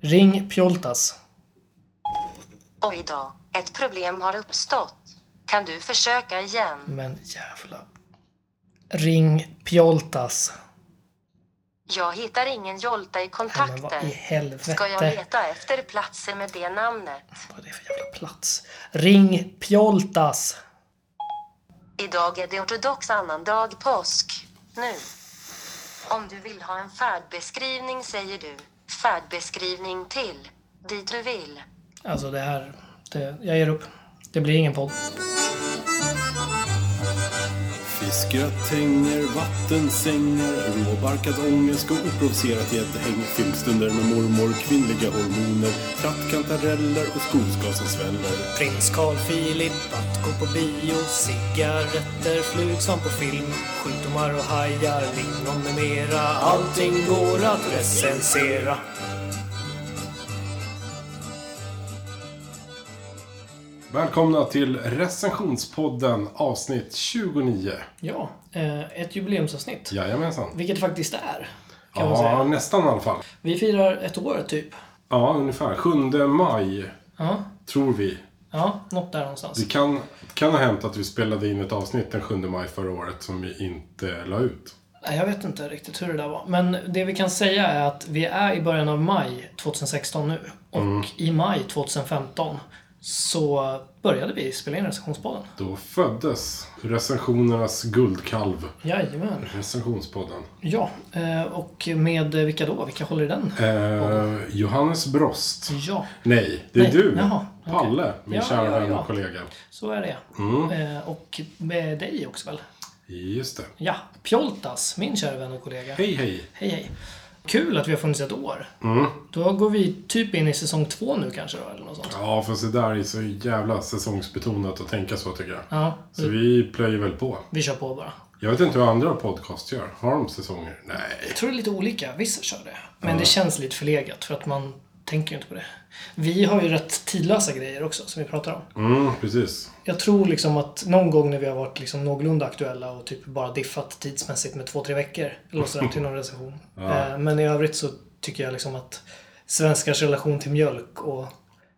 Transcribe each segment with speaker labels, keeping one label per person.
Speaker 1: Ring Pjoltas.
Speaker 2: Oj då, ett problem har uppstått. Kan du försöka igen?
Speaker 1: Men jävla... Ring Pjoltas.
Speaker 2: Jag hittar ingen Jolta i
Speaker 1: Nej, Men vad i
Speaker 2: kontakten.
Speaker 1: helvete?
Speaker 2: Ska jag leta efter platser med det namnet?
Speaker 1: Vad är det för jävla plats? Ring Pjoltas.
Speaker 2: Idag är det ortodox annandag påsk. Nu. Om du vill ha en färdbeskrivning säger du färdbeskrivning till dit du vill.
Speaker 1: Alltså det här... Det, jag ger upp. Det blir ingen podd.
Speaker 3: Fiskgratänger, vattensängar, råbarkad ångest och oprovocerat gäddhäng. Filmstunder med mormor, kvinnliga hormoner, trattkantareller och skogsgas som sväller.
Speaker 4: Prins Carl Philip att gå på bio Cigaretter, flug som på film Sjukdomar och hajar, lingon med mera Allting går att recensera
Speaker 3: Välkomna till recensionspodden avsnitt 29.
Speaker 1: Ja, eh, ett jubileumsavsnitt.
Speaker 3: Jajamensan.
Speaker 1: Vilket det faktiskt är. Kan man
Speaker 3: Ja,
Speaker 1: säga.
Speaker 3: nästan i alla fall.
Speaker 1: Vi firar ett år typ.
Speaker 3: Ja, ungefär. 7 maj,
Speaker 1: Ja,
Speaker 3: tror vi.
Speaker 1: ja något där någonstans.
Speaker 3: Det kan, kan ha hänt att vi spelade in ett avsnitt den 7 maj förra året som vi inte la ut.
Speaker 1: Nej, jag vet inte riktigt hur det där var. Men det vi kan säga är att vi är i början av maj 2016 nu. Och
Speaker 3: Mm.
Speaker 1: i maj 2015 så började vi spela in recensionspodden.
Speaker 3: Då föddes recensionernas guldkalv,
Speaker 1: Jajamän.
Speaker 3: recensionspodden.
Speaker 1: Ja, eh, och med vilka då? Vilka håller i den?
Speaker 3: Eh, Johannes Brost.
Speaker 1: Ja,
Speaker 3: Nej, det är
Speaker 1: Mm. Nej,
Speaker 3: du.
Speaker 1: jaha, okej.
Speaker 3: Palle, min
Speaker 1: Ja,
Speaker 3: kära
Speaker 1: ja,
Speaker 3: vän
Speaker 1: ja.
Speaker 3: och kollega.
Speaker 1: så är det.
Speaker 3: Mm.
Speaker 1: Eh, Och med dig också väl?
Speaker 3: Just det.
Speaker 1: Ja, Pjoltas, min kära vän och kollega.
Speaker 3: Hej, Mm. hej.
Speaker 1: Hej hej. Kul att vi har funnits ett år. Då går vi typ in i säsong två nu kanske då, eller något sånt.
Speaker 3: Ja, fast det där är så jävla säsongsbetonat att tänka så tycker jag.
Speaker 1: Ja,
Speaker 3: Så vi plöjer väl på.
Speaker 1: vi kör på bara.
Speaker 3: Jag vet inte hur andra podcast gör. Har de säsonger? Nej.
Speaker 1: Jag tror det är lite olika. Vissa kör det. Men det känns lite förlegat för att man tänker ju inte på det. Vi har ju rätt tidlösa grejer också som vi pratar om.
Speaker 3: Mm, precis.
Speaker 1: Jag tror liksom att någon gång när vi har varit liksom någorlunda aktuella och typ bara diffat tidsmässigt med två, tre veckor låser den till någon recension. Eh, Men i övrigt så tycker jag liksom att svenskars relation till mjölk och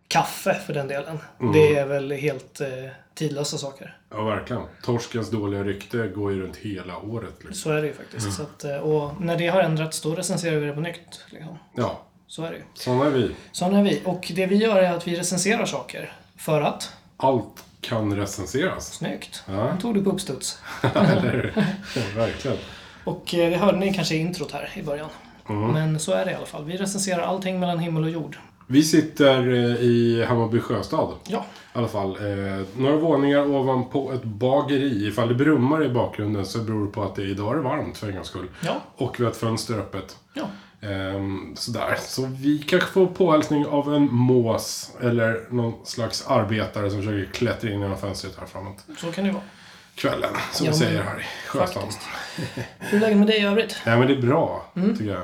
Speaker 1: kaffe för den delen. Det är väl helt eh, tidlösa saker.
Speaker 3: Ja, verkligen. Torskens dåliga rykte går ju runt hela året. Liksom.
Speaker 1: Så är det ju faktiskt. Så att, eh, och när det har ändrats då recenserar vi det på nytt. Liksom.
Speaker 3: Ja,
Speaker 1: Så är det ju.
Speaker 3: sådana är vi.
Speaker 1: Sådana är vi. Och det vi gör är att vi recenserar saker. För att?
Speaker 3: Allt kan recenseras.
Speaker 1: Snyggt. Den tog du på uppstuds.
Speaker 3: Eller hur? Ja, Verkligen.
Speaker 1: Och eh, det hörde ni kanske i introt här i början. Men så är det i alla fall. Vi recenserar allting mellan himmel och jord.
Speaker 3: Vi sitter eh, i Hammarby sjöstad.
Speaker 1: Ja.
Speaker 3: I alla fall, eh, några våningar ovanpå ett bageri. Ifall det brummar i bakgrunden så beror det på att det idag är varmt för en gångs skull.
Speaker 1: Ja.
Speaker 3: Och vi har ett fönster öppet.
Speaker 1: Ja.
Speaker 3: Ehm, sådär. Så vi kanske får påhälsning av en mås eller någon slags arbetare som försöker klättra in genom fönstret här framåt.
Speaker 1: Så kan det ju vara.
Speaker 3: Kvällen, som
Speaker 1: Ja,
Speaker 3: vi
Speaker 1: men-
Speaker 3: säger här i sjöstaden.
Speaker 1: Faktiskt. Mm. Hur är läget med dig i övrigt?
Speaker 3: Nej men det är bra, tycker jag.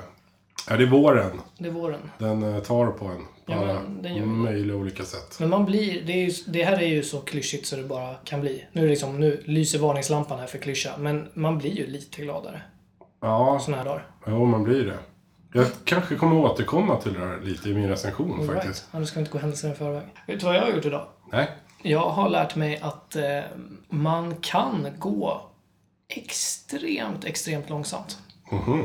Speaker 3: Ja, det är våren.
Speaker 1: Det är våren.
Speaker 3: Den eh, tar på en. På
Speaker 1: Ja,
Speaker 3: alla
Speaker 1: men den gör det.
Speaker 3: möjliga olika sätt.
Speaker 1: Men man blir... Det, är ju, det här är ju så klyschigt så det bara kan bli. Nu, är det liksom, nu lyser varningslampan här för klyscha. Men man blir ju lite gladare
Speaker 3: Ja,
Speaker 1: såna här dagar.
Speaker 3: Jo, man blir det. Jag kanske kommer återkomma till det här lite i min recension
Speaker 1: All
Speaker 3: faktiskt.
Speaker 1: Right. Ja, du ska inte gå händelserna i förväg. Vet du vad jag har gjort idag?
Speaker 3: Nej.
Speaker 1: Jag har lärt mig att eh, man kan gå extremt, extremt långsamt.
Speaker 3: Mhm.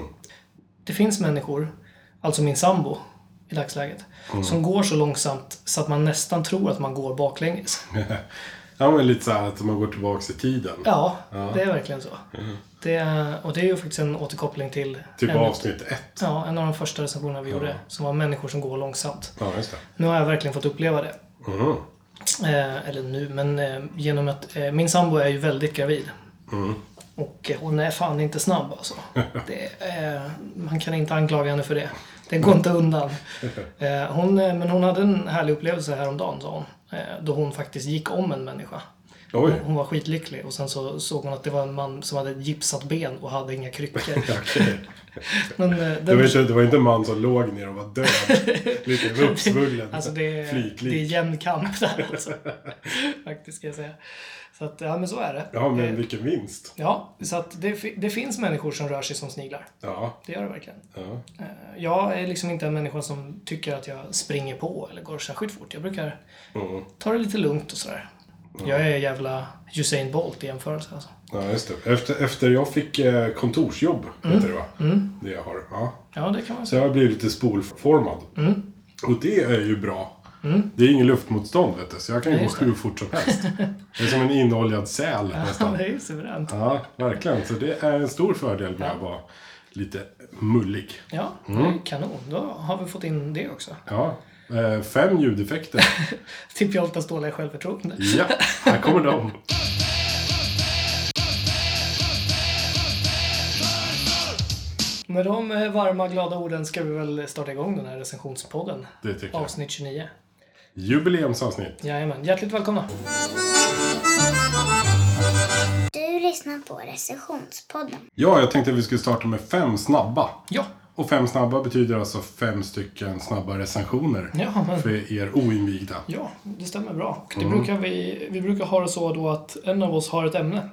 Speaker 1: Det finns människor, alltså min sambo i dagsläget, som går så långsamt så att man nästan tror att man går baklänges.
Speaker 3: Ja, men lite så här att man går tillbaka i tiden.
Speaker 1: Ja, det är verkligen så. Det, är- och det är ju faktiskt en återkoppling till
Speaker 3: Typ
Speaker 1: en,
Speaker 3: avsnitt ett.
Speaker 1: ja, en av de första recensionerna vi gjorde, som var människor som går långsamt.
Speaker 3: Ja, just det.
Speaker 1: Nu har jag verkligen fått uppleva det.
Speaker 3: Mhm.
Speaker 1: Eh, eller nu, men eh, genom att eh, min sambo är ju väldigt gravid.
Speaker 3: Mm.
Speaker 1: Och eh, hon är fan inte snabb alltså. Det, eh, man kan inte anklaga henne för det. Det går inte undan. Eh, hon, eh, men hon hade en härlig upplevelse häromdagen sa hon. Eh, då hon faktiskt gick om en människa.
Speaker 3: Oj.
Speaker 1: Hon var skitlycklig och sen så såg hon att det var en man som hade ett gipsat ben och hade inga kryckor.
Speaker 3: Okej.
Speaker 1: Men eh,
Speaker 3: Det, var
Speaker 1: den,
Speaker 3: inte, det var inte en man som låg ner och var död. Lite uppsvullen.
Speaker 1: alltså det, är- det är
Speaker 3: Flyklik.
Speaker 1: jämn kamp där alltså. Faktiskt ska jag säga. Så att, ja men så är det.
Speaker 3: Ja, men
Speaker 1: Eh,
Speaker 3: vilken vinst.
Speaker 1: ja, så att det, fi- det finns människor som rör sig som sniglar.
Speaker 3: Ja.
Speaker 1: Det gör det verkligen.
Speaker 3: ja.
Speaker 1: Eh, Jag är liksom inte en människa som tycker att jag springer på eller går särskilt fort. Jag brukar
Speaker 3: Mm.
Speaker 1: ta det lite lugnt och sådär. Jag är jävla Usain Bolt i jämförelse alltså.
Speaker 3: ja just det. Efter, efter jag fick eh, kontorsjobb,
Speaker 1: Mm.
Speaker 3: heter det va? Det jag har. Ja.
Speaker 1: Ja, det kan man säga.
Speaker 3: Så jag har blivit lite spolformad.
Speaker 1: Mm.
Speaker 3: Och det är ju bra. Det är ingen luftmotstånd, vet du. Så jag kan ju gå
Speaker 1: just
Speaker 3: hur fort som helst. Det är som en inoljad säl
Speaker 1: Ja,
Speaker 3: nästan.
Speaker 1: det är ju suveränt.
Speaker 3: Ja, verkligen. Så det är en stor fördel med att vara lite mullig.
Speaker 1: Ja, det
Speaker 3: Mm.
Speaker 1: är kanon. Då har vi fått in det också.
Speaker 3: Ja. Eh, Fem ljudeffekter.
Speaker 1: Till Pjoltas dåliga självförtroende.
Speaker 3: Ja, här kommer de.
Speaker 1: Med de eh, varma, glada orden ska vi väl starta igång den här recensionspodden.
Speaker 3: Det tycker jag.
Speaker 1: Avsnitt 29.
Speaker 3: Jubileumsavsnitt.
Speaker 1: Jajamän, hjärtligt välkomna!
Speaker 5: Du lyssnar på Recessionspodden.
Speaker 3: Ja, jag tänkte att vi skulle starta med fem snabba.
Speaker 1: Ja,
Speaker 3: Och fem snabba betyder alltså fem stycken snabba recensioner.
Speaker 1: ja men
Speaker 3: För er oinvigda.
Speaker 1: Ja, det stämmer bra. Och det brukar vi, vi brukar ha det så då att en av oss har ett ämne.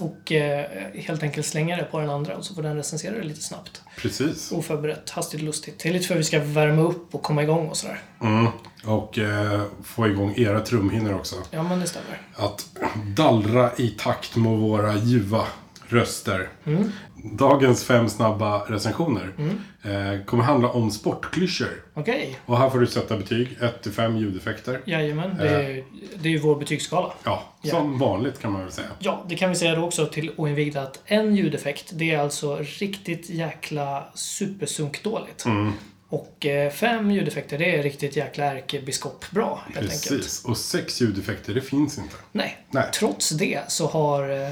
Speaker 1: Och eh, helt enkelt slänger det på den andra och så får den recensera det lite snabbt.
Speaker 3: Precis.
Speaker 1: Oförberett, hastigt, lustigt. Det är lite för att vi ska värma upp och komma igång och sådär.
Speaker 3: Mm. Och eh, få igång era trumhinnor också.
Speaker 1: Ja, men det stämmer.
Speaker 3: Att dallra i takt med våra ljuva röster.
Speaker 1: Mm.
Speaker 3: Dagens fem snabba recensioner eh, kommer handla om sportklyschor.
Speaker 1: Okej.
Speaker 3: Och här får du sätta betyg 1-5 ljudeffekter.
Speaker 1: Jajamän, det är, det är ju vår betygsskala.
Speaker 3: Ja,
Speaker 1: Ja.
Speaker 3: som vanligt kan man väl säga.
Speaker 1: Ja, det kan vi säga då också till oinvigda att en ljudeffekt, det är alltså riktigt jäkla supersunkdåligt. Och eh, fem ljudeffekter, det är riktigt jäkla ärkebiskopbra helt enkelt.
Speaker 3: Precis. Och sex ljudeffekter, det finns inte.
Speaker 1: Nej.
Speaker 3: Nej.
Speaker 1: Trots det så har eh,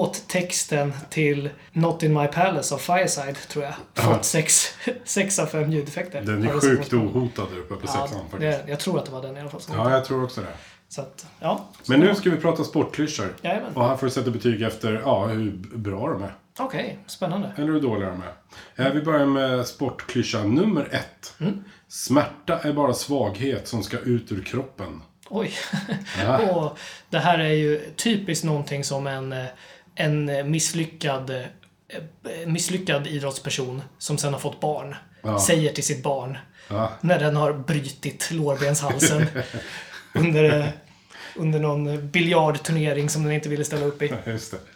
Speaker 1: låttexten till Not In My Palace av Fireside, tror jag, fått sex, sex av fem ljudeffekter.
Speaker 3: Den
Speaker 1: Har
Speaker 3: är
Speaker 1: det
Speaker 3: sjukt
Speaker 1: sagt.
Speaker 3: ohotad uppe på
Speaker 1: Ja,
Speaker 3: sexan faktiskt.
Speaker 1: det, jag tror att det var den i alla fall. som
Speaker 3: Ja,
Speaker 1: hette.
Speaker 3: jag tror också det.
Speaker 1: Så att, ja.
Speaker 3: Men nu ska vi prata sportklyschor.
Speaker 1: Jajamän.
Speaker 3: Och här får du sätta betyg efter ja, hur bra de är.
Speaker 1: Okej, spännande.
Speaker 3: Eller hur dåliga de är. Eh, Vi börjar med sportklyscha nummer ett.
Speaker 1: Mm.
Speaker 3: Smärta är bara svaghet som ska ut ur kroppen.
Speaker 1: Oj.
Speaker 3: Ja.
Speaker 1: Och det här är ju typiskt någonting som en, eh, en misslyckad, eh, misslyckad idrottsperson som sen har fått barn
Speaker 3: Ja.
Speaker 1: säger till sitt barn
Speaker 3: Ja.
Speaker 1: när den har brutit lårbenshalsen under, eh, under någon biljardturnering som den inte ville ställa upp i.
Speaker 3: Just det.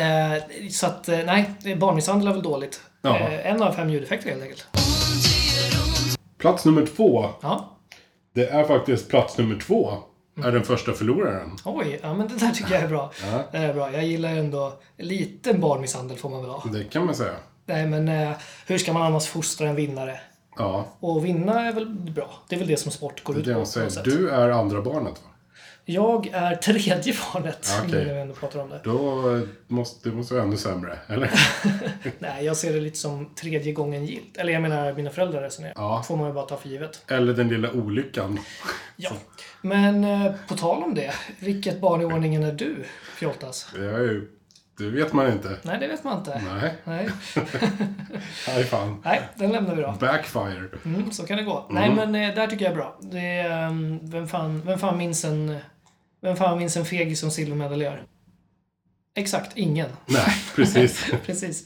Speaker 1: Eh, Så att eh, nej, barnmisshandel är väl dåligt.
Speaker 3: Ja.
Speaker 1: Eh, En av fem ljudeffekter helt enkelt.
Speaker 3: Plats nummer två.
Speaker 1: Ja.
Speaker 3: Det är faktiskt plats nummer två.
Speaker 1: Mm.
Speaker 3: Är den första förloraren.
Speaker 1: Oj, ja, men det där tycker jag är bra.
Speaker 3: Ja.
Speaker 1: Det är bra. Jag gillar ändå lite barnmisshandel får man väl ha.
Speaker 3: Det kan man säga.
Speaker 1: Nej, men eh, hur ska man annars fostra en vinnare?
Speaker 3: Ja,
Speaker 1: Och vinna är väl bra? Det är väl det som sport går ut
Speaker 3: det
Speaker 1: på.
Speaker 3: är det
Speaker 1: på
Speaker 3: de
Speaker 1: något sätt.
Speaker 3: säger. Du är andra barnet va?
Speaker 1: Jag är tredje barnet,
Speaker 3: Ja, okej.
Speaker 1: nu när vi ändå pratar om det.
Speaker 3: Då eh, måste, det måste vara ännu sämre, eller?
Speaker 1: Nej, jag ser det lite som tredje gången gilt. Eller jag menar, mina föräldrar resonerar.
Speaker 3: Ja.
Speaker 1: får man ju bara ta för givet.
Speaker 3: Eller den lilla olyckan.
Speaker 1: Ja. Men eh, på tal om det, vilket barn i ordningen är du, Fjoltas?
Speaker 3: Det, är ju, det vet man inte.
Speaker 1: Nej, det vet man inte.
Speaker 3: Nej,
Speaker 1: Nej,
Speaker 3: aj fan.
Speaker 1: Nej den lämnar vi då.
Speaker 3: Backfire.
Speaker 1: Mm, så kan det gå. Nej, men eh, där tycker jag är bra. Det är, ehm, vem, fan, vem fan minns en... Vem fan minns en fegis som silvermedaljör? Exakt, ingen.
Speaker 3: Nej, precis.
Speaker 1: Precis.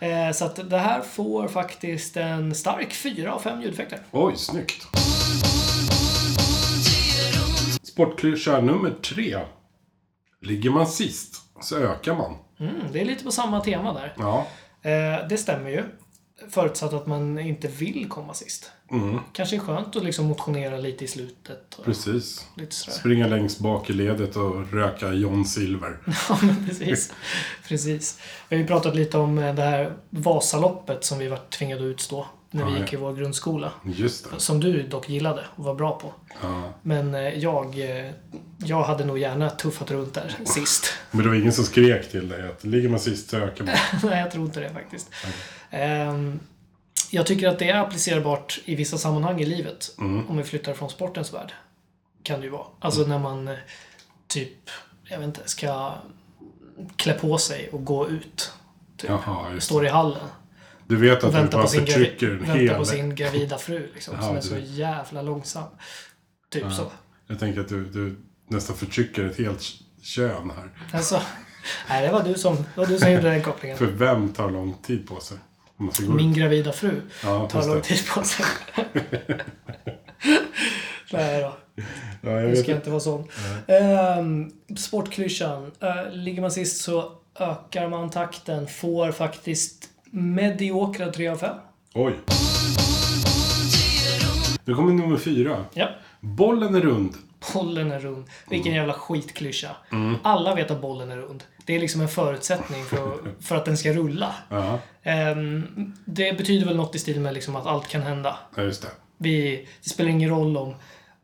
Speaker 1: Eh, så att det här får faktiskt en stark fyra av fem ljudeffekter.
Speaker 3: Oj, snyggt. Sportklyscha nummer tre. Ligger man sist så ökar man.
Speaker 1: Mm, det är lite på samma tema där.
Speaker 3: Ja,
Speaker 1: Eh, det stämmer ju. Förutsatt att man inte vill komma sist. Kanske är skönt att liksom motionera lite i slutet. Och
Speaker 3: Mm. precis.
Speaker 1: lite sådär.
Speaker 3: Springa längst bak i ledet och röka John Silver.
Speaker 1: Ja, men precis. precis. Vi har ju pratat lite om eh, det här Vasaloppet som vi var tvingade att utstå när vi
Speaker 3: Ja, ja.
Speaker 1: gick i vår grundskola.
Speaker 3: Just det.
Speaker 1: Som du dock gillade och var bra på.
Speaker 3: Ja.
Speaker 1: Men eh, jag, eh, jag hade nog gärna tuffat runt där sist.
Speaker 3: Men det var ingen som skrek till dig att ligger man sist så ökar man.
Speaker 1: Nej, jag tror inte det faktiskt. Ehm, Jag tycker att det är applicerbart i vissa
Speaker 3: Mm.
Speaker 1: sammanhang i livet. Om vi flyttar från sportens värld. Kan det ju vara. Alltså när man eh, typ, jag vet inte, ska klä på sig och gå ut. Typ.
Speaker 3: Jaha, just
Speaker 1: Står i hallen.
Speaker 3: Du vet att du
Speaker 1: Väntar
Speaker 3: bara
Speaker 1: på, sin gravi-
Speaker 3: förtrycker en
Speaker 1: väntar
Speaker 3: hel...
Speaker 1: på sin gravida fru liksom,
Speaker 3: Ja,
Speaker 1: som är
Speaker 3: du
Speaker 1: så
Speaker 3: vet.
Speaker 1: jävla långsam. Typ så.
Speaker 3: Jag tänker att du, du nästan förtrycker ett helt kön här.
Speaker 1: Alltså, nej, det var du som, det var du som gjorde den kopplingen.
Speaker 3: För vem tar lång tid på sig? Om man ska gå ut.
Speaker 1: Min gravida fru
Speaker 3: Ja,
Speaker 1: tar
Speaker 3: just
Speaker 1: lång
Speaker 3: det.
Speaker 1: tid på sig. nej då.
Speaker 3: Ja, jag
Speaker 1: Jag
Speaker 3: vet
Speaker 1: ska
Speaker 3: inte.
Speaker 1: inte vara sån. Ehm, sportklyschan. Eh, ligger man sist så ökar man takten. Får faktiskt mediokra 3 av 5.
Speaker 3: Oj. Nu kommer nummer fyra.
Speaker 1: Ja.
Speaker 3: Bollen är rund.
Speaker 1: Bollen är rund. Vilken
Speaker 3: Mm.
Speaker 1: jävla skitklyscha. Alla vet att bollen är rund. Det är liksom en förutsättning för, för att den ska rulla.
Speaker 3: Ja,
Speaker 1: Ehm, det betyder väl något i stil med liksom att allt kan hända.
Speaker 3: ja, just det.
Speaker 1: Vi, det spelar ingen roll om,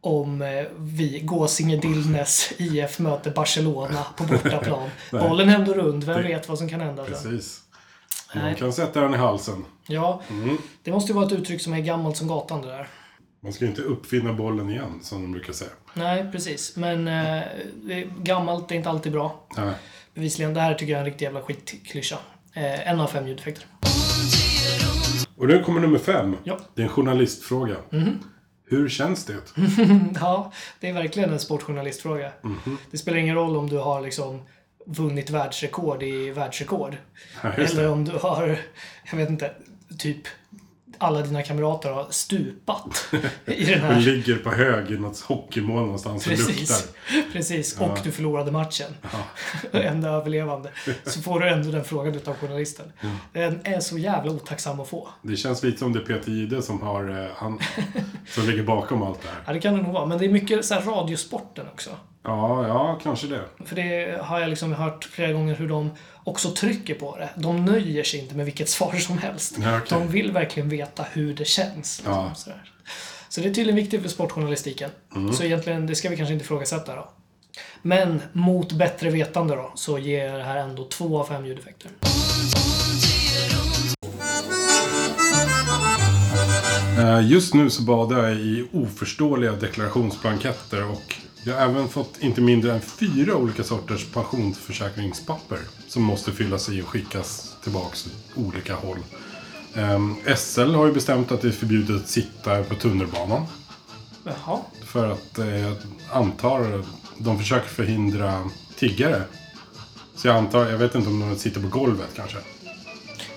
Speaker 1: om eh, vi, Gåsinge Dillnäs IF möter Barcelona på bortaplan. Bollen är ändå rund, vem vet vad som kan hända sen?
Speaker 3: Precis. Man
Speaker 1: Nej.
Speaker 3: kan sätta den i halsen.
Speaker 1: Ja,
Speaker 3: Mm.
Speaker 1: det måste ju vara ett uttryck som är gammalt som gatan det där.
Speaker 3: Man ska ju inte uppfinna bollen igen, som de brukar säga.
Speaker 1: Nej, precis. Men eh, det är gammalt det är inte alltid bra.
Speaker 3: Nej.
Speaker 1: Bevisligen, det här tycker jag är en riktig jävla skitklyscha. Eh, en av fem ljudeffekter.
Speaker 3: Och nu kommer nummer fem.
Speaker 1: Ja. Mhm.
Speaker 3: Det är en journalistfråga. Hur känns det?
Speaker 1: Ja, det är verkligen en sportjournalistfråga.
Speaker 3: Mhm.
Speaker 1: Det spelar ingen roll om du har liksom vunnit världsrekord i världsrekord.
Speaker 3: Ja, just det.
Speaker 1: Eller om du har, jag vet inte, typ alla dina kamrater har stupat i den
Speaker 3: Du
Speaker 1: här.
Speaker 3: ligger på hög i något hockeymål någonstans och
Speaker 1: Precis,
Speaker 3: luktar.
Speaker 1: precis. Och du förlorade matchen. Enda överlevande. Så får du ändå den frågan utav journalisten. Den är så jävla otacksam att få.
Speaker 3: Det känns lite som det är Peter Jihde som, har, eh, han, som ligger bakom allt det här.
Speaker 1: Ja, det kan det nog vara. Men det är mycket så här radiosporten också.
Speaker 3: Ja, ja, kanske det.
Speaker 1: För det har jag liksom hört flera gånger hur de också trycker på det. De nöjer sig inte med vilket svar som helst.
Speaker 3: Ja, okej.
Speaker 1: De vill verkligen veta hur det känns. Liksom,
Speaker 3: Ja. Mm.
Speaker 1: sådär. Så det är tydligen viktigt för sportjournalistiken. Så egentligen, det ska vi kanske inte ifrågasätta då. Men mot bättre vetande då, så ger det här ändå två av fem ljudeffekter.
Speaker 3: Eh, Just nu så badar jag i oförståeliga deklarationsblanketter och jag har även fått inte mindre än fyra olika sorters pensionsförsäkringspapper som måste fyllas i och skickas tillbaks åt olika håll. Ehm, SL har ju bestämt att det är förbjudet att sitta på tunnelbanan
Speaker 1: Jaha.
Speaker 3: för att eh, jag antar de försöker förhindra tiggare. Så jag antar, jag vet inte om de sitter på golvet kanske.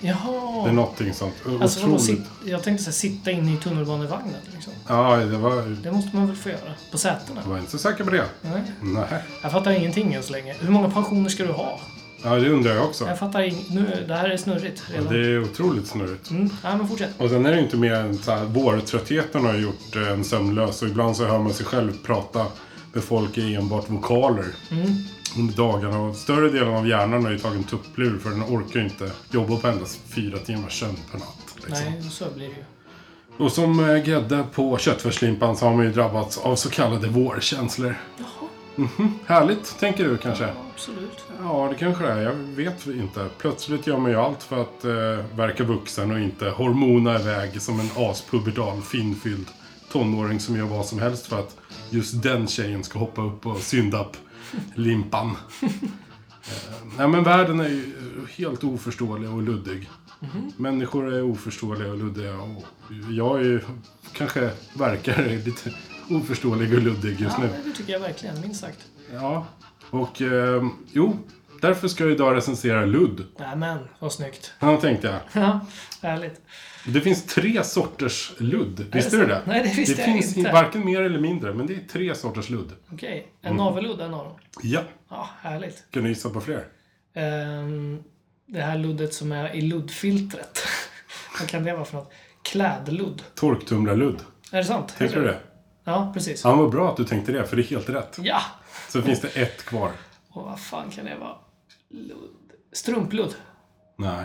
Speaker 3: Det är
Speaker 1: Jaha.
Speaker 3: någonting sånt.
Speaker 1: Alltså, vadå, sit,
Speaker 3: Otroligt.
Speaker 1: jag tänkte så här, sitta inne i tunnelbanevagnen. Liksom.
Speaker 3: Ja, det var,
Speaker 1: Det måste man väl få göra? På sätena?
Speaker 3: jag var inte så säker på det.
Speaker 1: Nej.
Speaker 3: Nej.
Speaker 1: Jag fattar ingenting än så länge. Hur många pensioner ska du ha?
Speaker 3: Ja, det undrar jag också. Alltså,
Speaker 1: Jag fattar ing- nu, Det här är snurrigt redan.
Speaker 3: Det är otroligt snurrigt.
Speaker 1: Mm, nej, men fortsätt.
Speaker 3: Och sen är det inte mer än så här, vårtröttheten har gjort eh, en sömnlös och ibland så hör man sig själv prata med folk i enbart vokaler
Speaker 1: Mm.
Speaker 3: under dagarna. Och större delen av hjärnan har ju tagit en tupplur för den orkar ju inte jobba på endast fyra timmars sömn per natt. Liksom.
Speaker 1: Nej, så blir det ju.
Speaker 3: Och som eh, grädde på köttfärslimpan så har man ju drabbats av så kallade vårkänslor. Mhm.
Speaker 1: Jaha,
Speaker 3: Härligt, tänker du kanske?
Speaker 1: absolut.
Speaker 3: Ja, det kanske det är. Jag vet inte. Plötsligt gör man ju allt för att eh, verka vuxen och inte hormona iväg som en aspubertal, finfylld tonåring som gör vad som helst för att just den tjejen ska hoppa upp på syndapp-limpan. eh, nej, men världen är ju eh, helt oförståelig och luddig. Människor är oförståeliga och luddiga och jag är ju, kanske verkar lite oförståelig och luddig just
Speaker 1: Ja,
Speaker 3: nu.
Speaker 1: det tycker jag verkligen, minst sagt.
Speaker 3: Ja, och eh, jo, därför ska jag idag recensera ludd.
Speaker 1: Nej, men vad snyggt.
Speaker 3: Ja, tänkte jag.
Speaker 1: Ja, härligt.
Speaker 3: Det finns tre sorters ludd. Visste
Speaker 1: det
Speaker 3: du
Speaker 1: så?
Speaker 3: det?
Speaker 1: Nej, det visste
Speaker 3: det
Speaker 1: jag
Speaker 3: finns
Speaker 1: inte.
Speaker 3: varken mer eller mindre, men det är tre sorters ludd.
Speaker 1: Okej, en
Speaker 3: Mm.
Speaker 1: naveludd är en av dem.
Speaker 3: Ja,
Speaker 1: Ja, härligt.
Speaker 3: kan du gissa på fler?
Speaker 1: Ehm, det här luddet som är i luddfiltret. vad kan det vara för något? Klädludd.
Speaker 3: Torktumlarludd.
Speaker 1: Är det sant?
Speaker 3: Tänkte du det?
Speaker 1: Ja, precis.
Speaker 3: Ja, vad bra att du tänkte det, för det är helt rätt.
Speaker 1: Ja!
Speaker 3: Så finns det ett kvar.
Speaker 1: Och vad fan kan det vara? Ludd. Strumpludd.
Speaker 3: Nej,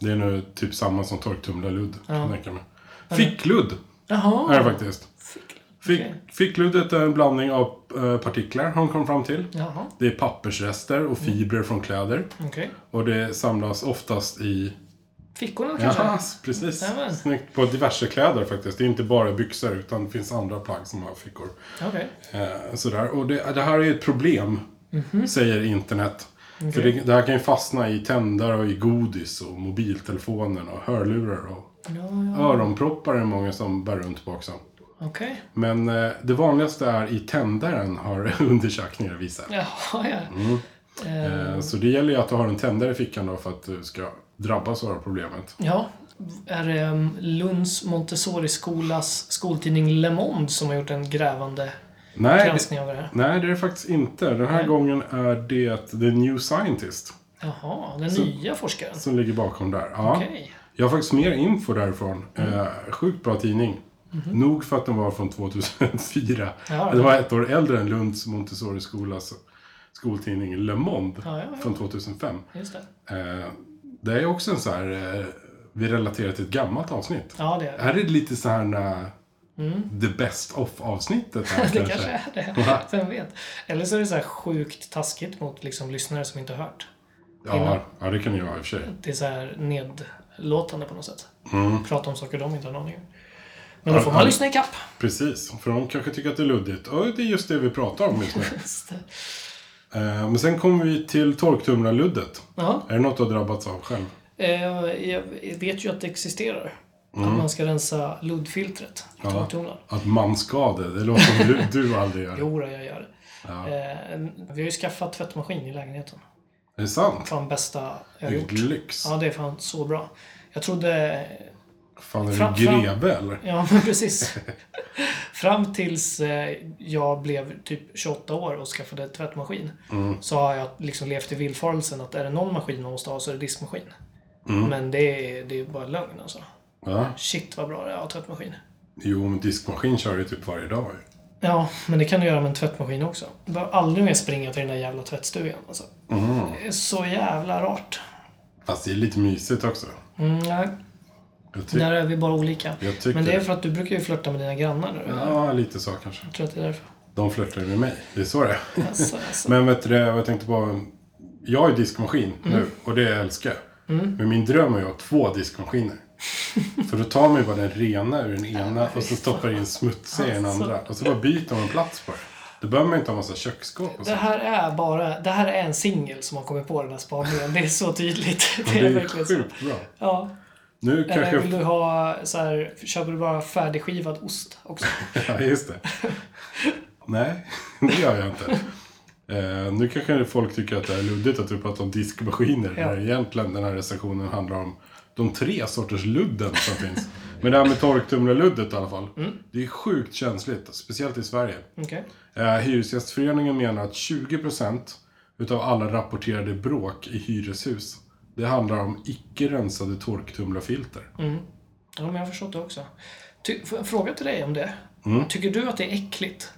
Speaker 3: det är nog typ samma som torktumlarludd, kan jag tänka mig. Fickludd
Speaker 1: Jaha.
Speaker 3: är det faktiskt. Fick,
Speaker 1: Okej.
Speaker 3: Fickluddet är en blandning av eh, partiklar, har de kommit fram till.
Speaker 1: Jaha,
Speaker 3: Det är pappersrester och fibrer från kläder.
Speaker 1: okej.
Speaker 3: Och det samlas oftast i...
Speaker 1: Fickorna kanske?
Speaker 3: Ja, precis.
Speaker 1: Jajamän.
Speaker 3: Snyggt. På diverse kläder faktiskt. Det är inte bara byxor utan det finns andra plagg som har fickor.
Speaker 1: Okej.
Speaker 3: Eh, sådär. Och det, det här är ett problem Säger internet. För det, det här kan ju fastna i tändare och i godis och mobiltelefoner och hörlurar och öronproppar är det många som bär runt på också.
Speaker 1: Okej.
Speaker 3: Men eh, det vanligaste är i tändaren har undersökningar visat.
Speaker 1: Jaha, ja.
Speaker 3: Eh, så det gäller ju att du har en tändare i fickan då för att du ska drabbas av det här problemet.
Speaker 1: Ja. Är det ehm, Lunds Montessori-skolas skoltidning Le Monde som har gjort en grävande
Speaker 3: Nej, det,
Speaker 1: granskning av det här?
Speaker 3: nej, det är det faktiskt inte. Den här gången är det The New Scientist
Speaker 1: Jaha, den nya forskaren.
Speaker 3: som ligger bakom där. Ja.
Speaker 1: Okej. Mm.
Speaker 3: Jag har faktiskt mer info därifrån. Eh, sjukt bra tidning. Nog för att den var från 2004.
Speaker 1: Mhm. Ja,
Speaker 3: det var ett år äldre än Lunds Montessori-skolas skoltidning Le Monde
Speaker 1: Ja, ja, ja.
Speaker 3: från 2005.
Speaker 1: Just det.
Speaker 3: Eh, det är också en så här... Eh, vi relaterar till ett gammalt avsnitt.
Speaker 1: Ja, det är det.
Speaker 3: Här är det lite så här... eh, The best of avsnittet här
Speaker 1: Mm. Det kanske är det. Vem vet? Eller så är det så här sjukt taskigt mot liksom lyssnare som inte har hört.
Speaker 3: Ja, ja, det kan det ju vara i och för sig.
Speaker 1: Det är så här nedlåtande på något sätt. Prata om saker de inte har en aning om. Men då får man lyssna ikapp.
Speaker 3: Precis, för de kanske tycker att det är luddigt. Och det är just det vi pratar om just nu.
Speaker 1: Just det.
Speaker 3: Eh, Men sen kommer vi till torktumlarluddet.
Speaker 1: Ja.
Speaker 3: Är det något du har drabbats av själv?
Speaker 1: Eh, Jag vet ju att det existerar.
Speaker 3: Mm.
Speaker 1: Att man ska rensa luddfiltret i torktumlaren.
Speaker 3: Att man ska det, det låter som du, du aldrig gör.
Speaker 1: Jo, då, jag gör det. Eh, Vi har ju skaffat tvättmaskin i lägenheten.
Speaker 3: Är det sant?
Speaker 1: Fan bästa jag har
Speaker 3: Det är
Speaker 1: gjort.
Speaker 3: lyx.
Speaker 1: Ja, det är fan så bra. Jag trodde...
Speaker 3: Fan, är
Speaker 1: Fram-
Speaker 3: du greve eller?
Speaker 1: Ja, men precis. Fram tills eh, jag blev typ 28 år och skaffade tvättmaskin
Speaker 3: Mm.
Speaker 1: så har jag liksom levt i villfarelsen att är det någon maskin man måste ha så är det diskmaskin.
Speaker 3: Mm.
Speaker 1: Men det är, det är bara lögn alltså.
Speaker 3: Ja.
Speaker 1: Shit vad bra det är att ha tvättmaskin.
Speaker 3: Jo, men diskmaskin kör du typ varje dag ju.
Speaker 1: Ja, men det kan du göra med en tvättmaskin också. Du behöver aldrig mer springa till den där jävla tvättstugan. Alltså.
Speaker 3: Mm.
Speaker 1: Det är så jävla rart.
Speaker 3: Fast det är lite mysigt också.
Speaker 1: Mm, nej,
Speaker 3: Jag ty-
Speaker 1: där är vi bara olika.
Speaker 3: Jag tycker
Speaker 1: Men det är
Speaker 3: det.
Speaker 1: för att du brukar ju flirta med dina grannar nu. eller?
Speaker 3: Ja, lite så kanske.
Speaker 1: Jag tror att det är därför.
Speaker 3: De flörtar ju med mig. Det är så det är.
Speaker 1: Alltså, alltså.
Speaker 3: Men vet du det, jag tänkte bara... Jag har ju diskmaskin
Speaker 1: Mm.
Speaker 3: nu och det älskar jag. Men min dröm är ju att ha två diskmaskiner. För då tar man ju bara den rena ur den ena och så stoppar in smutsiga i den
Speaker 1: Alltså.
Speaker 3: andra. Och så bara byter man plats på det. Då behöver man ju inte ha massa köksskåp och
Speaker 1: Det
Speaker 3: så.
Speaker 1: här är bara, det här är en singel som har kommit på den här spaningen. Det är så tydligt.
Speaker 3: Det
Speaker 1: Det är
Speaker 3: är
Speaker 1: verkligen så.
Speaker 3: sjukt bra.
Speaker 1: Ja.
Speaker 3: Nu
Speaker 1: Eller vill
Speaker 3: kanske...
Speaker 1: du ha så här, köper du bara färdigskivad ost också?
Speaker 3: Ja, just det. Nej, det gör jag inte. Eh, nu kanske folk tycker att det är luddigt att vi pratar om diskmaskiner.
Speaker 1: Ja.
Speaker 3: När egentligen den här recensionen handlar om de tre sorters ludden som finns. Men det här med torktumlarluddet i alla fall. Det är sjukt känsligt, speciellt i Sverige.
Speaker 1: Okej.
Speaker 3: Eh, Hyresgästföreningen menar att 20% utav alla rapporterade bråk i hyreshus, det handlar om icke rensade torktumlarfilter.
Speaker 1: Ja, men jag har förstått det också. Ty, får jag en fråga till dig om det?
Speaker 3: Mm.
Speaker 1: Tycker du att det är äckligt?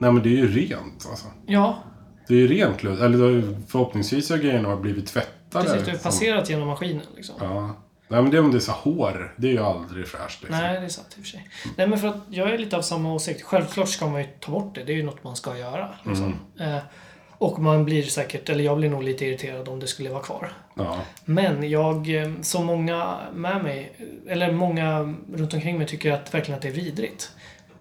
Speaker 3: Nej men det är ju rent alltså.
Speaker 1: Ja,
Speaker 3: Det är ju rent ludd. Eller det har ju- förhoppningsvis har grejerna har blivit tvättade.
Speaker 1: precis. Du har
Speaker 3: Som-
Speaker 1: passerat genom maskinen liksom.
Speaker 3: Ja. Nej men det är om det är så här hår. Det är ju aldrig fräscht liksom.
Speaker 1: Nej, det är sant i och för sig. Nej, men för att jag är lite av samma åsikt. Självklart ska man ju ta bort det. Det är ju något man ska göra. Liksom. Eh, och man blir säkert, eller jag blir nog lite irriterad om det skulle vara kvar.
Speaker 3: Ja.
Speaker 1: Men jag, eh, som många med mig, eller många runt omkring mig tycker att verkligen att det är vidrigt.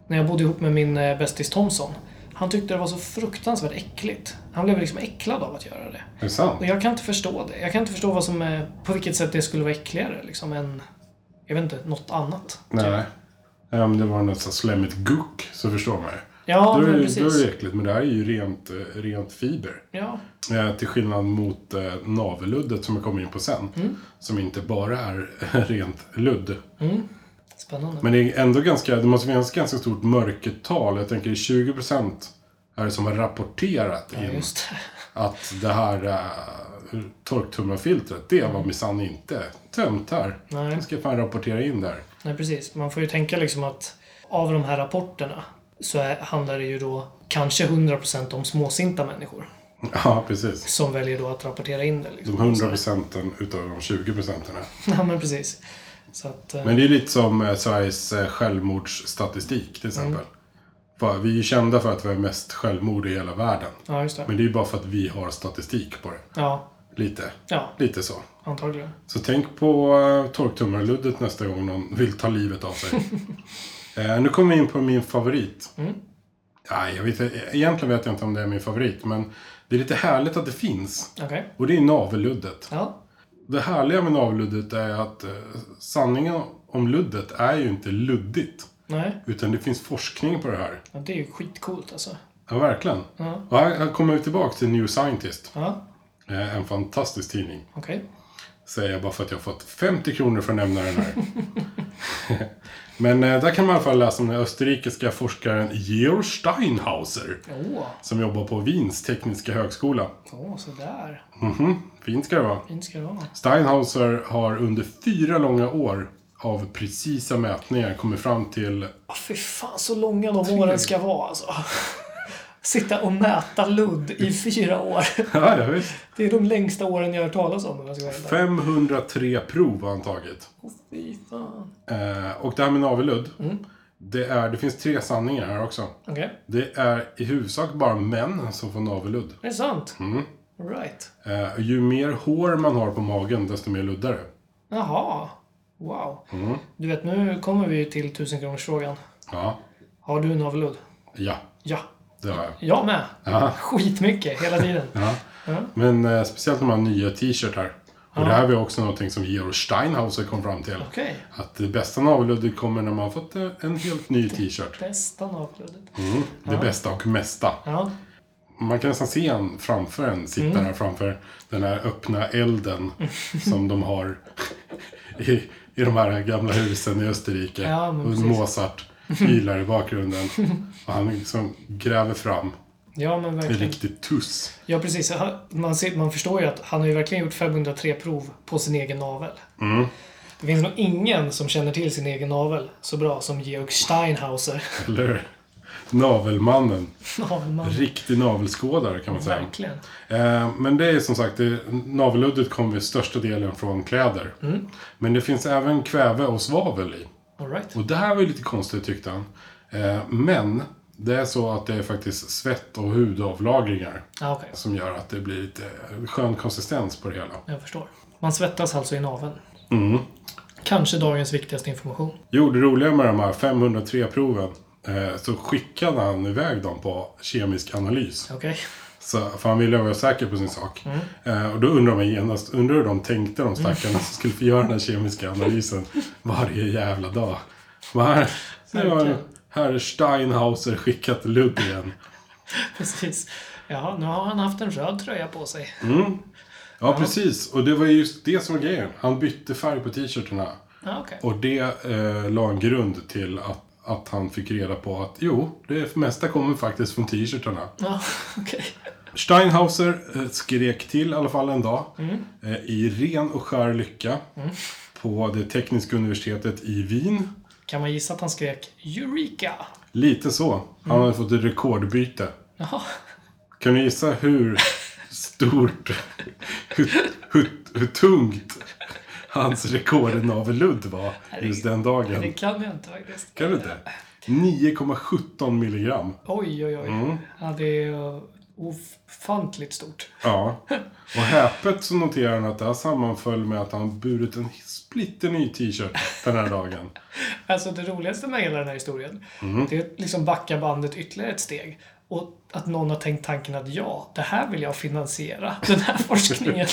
Speaker 1: När jag bodde ihop med min eh, bästis Thomson, han tyckte det var så fruktansvärt äckligt. Han blev liksom äcklad av att göra det.
Speaker 3: Det är sant.
Speaker 1: Och jag kan inte förstå det. Jag kan inte förstå vad som, eh, på vilket sätt det skulle vara äckligare liksom än, jag vet inte, något annat.
Speaker 3: Nej. Nej, Om det var något så här slemmigt guck så förstår man ju.
Speaker 1: Ja,
Speaker 3: då,
Speaker 1: men
Speaker 3: är, det- då är
Speaker 1: precis.
Speaker 3: det äckligt. Men det här är ju rent, eh, rent fiber.
Speaker 1: Ja,
Speaker 3: Eh, till skillnad mot eh, navelluddet som jag kommer in på sen.
Speaker 1: Mm.
Speaker 3: Som inte bara är rent ludd.
Speaker 1: spännande.
Speaker 3: Men det är ändå ganska, det måste finnas ganska stort mörkertal. Jag tänker 20% är det som har rapporterat in
Speaker 1: Just det.
Speaker 3: att det här äh, torktumlarfiltret, det var minsann inte tömt här.
Speaker 1: Nej.
Speaker 3: Jag ska fan rapportera in där.
Speaker 1: Nej, precis. Man får ju tänka liksom att av de här rapporterna så är, handlar det ju då kanske 100% om småsinta människor
Speaker 3: Ja, precis.
Speaker 1: som väljer då att rapportera in det. Liksom.
Speaker 3: De 100 procenten utav de 20 procenten. här.
Speaker 1: Ja, men precis. Så att, eh,
Speaker 3: Men det är lite som eh, Sveriges eh, självmordsstatistik till exempel. För Vi är ju kända för att vi har mest självmord i hela världen.
Speaker 1: ja, just det.
Speaker 3: Men det är ju bara för att vi har statistik på det.
Speaker 1: Ja,
Speaker 3: Lite,
Speaker 1: ja,
Speaker 3: lite så.
Speaker 1: antagligen.
Speaker 3: Så tänk på eh, torktumlarluddet nästa gång någon vill ta livet av sig. eh, nu kommer vi in på min favorit. Nej, jag vet, inte- egentligen vet jag inte om det är min favorit, men Det är lite härligt att det finns.
Speaker 1: Okej.
Speaker 3: Och det är navelluddet.
Speaker 1: Ja.
Speaker 3: Det härliga med navelluddet är att eh, sanningen om luddet är ju inte luddigt.
Speaker 1: Nej.
Speaker 3: Utan det finns forskning på det här.
Speaker 1: Ja, det är ju skitcoolt alltså.
Speaker 3: Ja, verkligen.
Speaker 1: Ja.
Speaker 3: Och här, här kommer vi tillbaka till New Scientist.
Speaker 1: Ja.
Speaker 3: Eh, En fantastisk tidning.
Speaker 1: Okej.
Speaker 3: Säger jag bara för att jag har fått 50 kronor för att nämna den här. Men eh, där kan man i alla fall läsa om den österrikiska forskaren Georg Steinhauser.
Speaker 1: Åh.
Speaker 3: Som jobbar på Wiens tekniska högskola.
Speaker 1: Åh, sådär.
Speaker 3: Mhm, fint ska det vara.
Speaker 1: Fint ska det vara.
Speaker 3: Steinhauser har under fyra långa år av precisa mätningar kommit fram till...
Speaker 1: Åh, Ah, fy fan så långa de åren ska vara alltså. Sitta och mäta ludd i fyra år.
Speaker 3: Ja, ja, visst.
Speaker 1: Det är de längsta åren jag har hört talas om. om jag ska vara helt ärlig.
Speaker 3: 503 prov har han tagit.
Speaker 1: Åh, fy fan.
Speaker 3: Eh, och det här med navelludd. Det, är, det finns tre sanningar här också.
Speaker 1: Okej.
Speaker 3: Det är i huvudsak bara män som får navelludd.
Speaker 1: Är det sant? Mm. Right.
Speaker 3: Eh, ju mer hår man har på magen, desto mer luddare.
Speaker 1: Jaha. Wow.
Speaker 3: Mm.
Speaker 1: Du vet, nu kommer vi till 1000 kronors frågan.
Speaker 3: Ja,
Speaker 1: Har du navelludd?
Speaker 3: ja
Speaker 1: Ja.
Speaker 3: det har jag.
Speaker 1: Jag med.
Speaker 3: Ja.
Speaker 1: Skitmycket, hela tiden.
Speaker 3: Ja. Men eh, speciellt när man har nya t-shirtar. Och det här var också någonting som Georg Steinhauser kom fram till.
Speaker 1: Okej.
Speaker 3: Att det bästa navelluddet kommer när man har fått eh, en helt ny t-shirt.
Speaker 1: Bästa naveluddet.
Speaker 3: Mm. Det bästa och mesta.
Speaker 1: Ja.
Speaker 3: Man kan nästan se en framför en, sitta
Speaker 1: Mm.
Speaker 3: här framför den här öppna elden som de har i, i de här gamla husen i Österrike.
Speaker 1: Ja, men
Speaker 3: och
Speaker 1: precis.
Speaker 3: Mozart ylar i bakgrunden. Och han liksom gräver fram
Speaker 1: Ja, men
Speaker 3: en
Speaker 1: verkligen.
Speaker 3: riktig tuss.
Speaker 1: Ja, precis. Han- Man, ser, man förstår ju att han har ju verkligen gjort 503 prov på sin egen navel.
Speaker 3: Mm.
Speaker 1: Det finns nog ingen som känner till sin egen navel så bra som Georg Steinhauser.
Speaker 3: Eller hur? Navelmannen.
Speaker 1: Navelman.
Speaker 3: Riktig navelskådare kan man säga.
Speaker 1: Mm. Verkligen.
Speaker 3: Eh, Men det är som sagt, det- navelluddet kommer i största delen från kläder.
Speaker 1: Mm.
Speaker 3: Men det finns även kväve och svavel i.
Speaker 1: All right.
Speaker 3: Och det här var ju lite konstigt tyckte han. Eh, Men det är så att det är faktiskt svett och hudavlagringar
Speaker 1: Ja, Ah, okej.
Speaker 3: som gör att det blir lite eh, skön konsistens på det hela.
Speaker 1: Jag förstår. Man svettas alltså i naveln.
Speaker 3: Mm.
Speaker 1: Kanske dagens viktigaste information.
Speaker 3: Jo, det roliga med de här 503-proven eh, så skickade han iväg dem på kemisk analys.
Speaker 1: Okej.
Speaker 3: Så, för han ville vara säker på sin sak. Eh, och då undrar man genast, undrar hur de tänkte de stackarna som skulle få göra den här kemiska analysen varje jävla dag. Men här, nu har
Speaker 1: Verkligen.
Speaker 3: herr Steinhauser skickat ludd igen.
Speaker 1: Precis. Ja, nu har han haft en röd tröja på sig.
Speaker 3: Mm. Ja, precis. Och det var just det som var grejen. Han bytte färg på t-shirtarna.
Speaker 1: Ja, Ah, okej.
Speaker 3: Och det eh, la en grund till att, att han fick reda på att jo, det mesta kommer faktiskt från t-shirtarna.
Speaker 1: Ja, okej.
Speaker 3: Steinhauser eh, skrek till i alla fall en dag. eh, I ren och skär lycka. På det tekniska universitetet i Wien.
Speaker 1: Kan man gissa att han skrek Eureka?
Speaker 3: Lite så. Han hade fått ett rekordbyte.
Speaker 1: Jaha.
Speaker 3: Kan du gissa hur stort, hur, hur, hur tungt hans rekord i navelludd var just den
Speaker 1: Det
Speaker 3: dagen?
Speaker 1: kan jag inte faktiskt.
Speaker 3: Kan du inte? 9,17 milligram.
Speaker 1: Oj, oj, oj. Ja, det är eh, ofantligt stort.
Speaker 3: Ja. Och häpet så noterar han att det här sammanföll med att han burit en splitterny t-shirt den här dagen.
Speaker 1: Alltså det roligaste med hela den här historien, det är att liksom backa bandet ytterligare ett steg. Och att någon har tänkt tanken att ja, det här vill jag finansiera. Den här forskningen.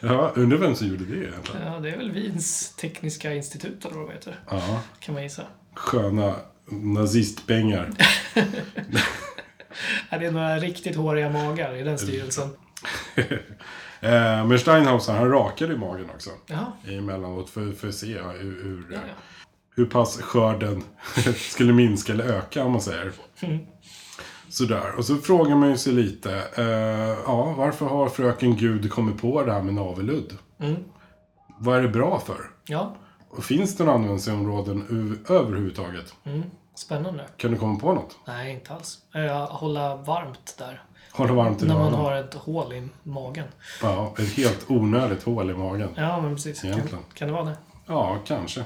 Speaker 3: Ja, undrar vem som gjorde det egentligen.
Speaker 1: Ja, det är väl Wiens tekniska institut eller vad det heter.
Speaker 3: Ja.
Speaker 1: Kan man gissa.
Speaker 3: Sköna nazistpengar.
Speaker 1: Ja, det är några riktigt håriga magar i den styrelsen.
Speaker 3: Eh, Men Steinhauser, han rakade i magen också.
Speaker 1: Ja,
Speaker 3: Emellanåt för, för att se hur, hur, eh, hur pass skörden skulle minska eller öka om man säger.
Speaker 1: Mm.
Speaker 3: Sådär, och så frågar man ju sig lite. Eh, ja, varför har fröken Gud kommit på det här med navelludd?
Speaker 1: Mm.
Speaker 3: Vad är det bra för?
Speaker 1: ja.
Speaker 3: Och finns det några användningsområden öv- överhuvudtaget?
Speaker 1: Spännande.
Speaker 3: Kan du komma på något?
Speaker 1: Nej, inte alls. Eh, Hålla varmt där.
Speaker 3: Hålla varmt i
Speaker 1: När man
Speaker 3: öronen.
Speaker 1: har ett hål i magen.
Speaker 3: Ja, ett helt onödigt hål i magen.
Speaker 1: Ja, men precis. Kan,
Speaker 3: Egentligen.
Speaker 1: kan det vara det?
Speaker 3: Ja, kanske.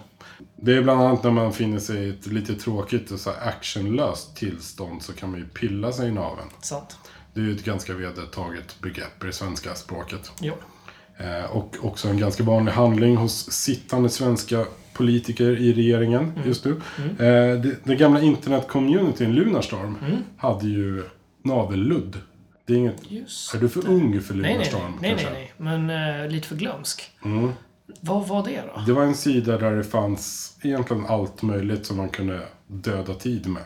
Speaker 3: Det är bland annat när man finner sig i ett lite tråkigt och så här actionlöst tillstånd så kan man ju pilla sig i naveln.
Speaker 1: Sant.
Speaker 3: Det är ju ett ganska vedertaget begrepp i det svenska språket.
Speaker 1: Jo.
Speaker 3: Eh, och också en ganska vanlig handling hos sittande svenska politiker i regeringen
Speaker 1: Mm. Mm.
Speaker 3: just nu. Eh, det, den gamla internetcommunityn Lunarstorm hade ju Navelludd. Det är inget...
Speaker 1: Just
Speaker 3: Är du för ung för
Speaker 1: Nej, nej,
Speaker 3: Lunarstorm?
Speaker 1: nej, nej, nej,
Speaker 3: kanske?
Speaker 1: nej. Men eh, lite för glömsk.
Speaker 3: Mm.
Speaker 1: Vad var det då?
Speaker 3: Det var en sida där det fanns egentligen allt möjligt som man kunde döda tid med.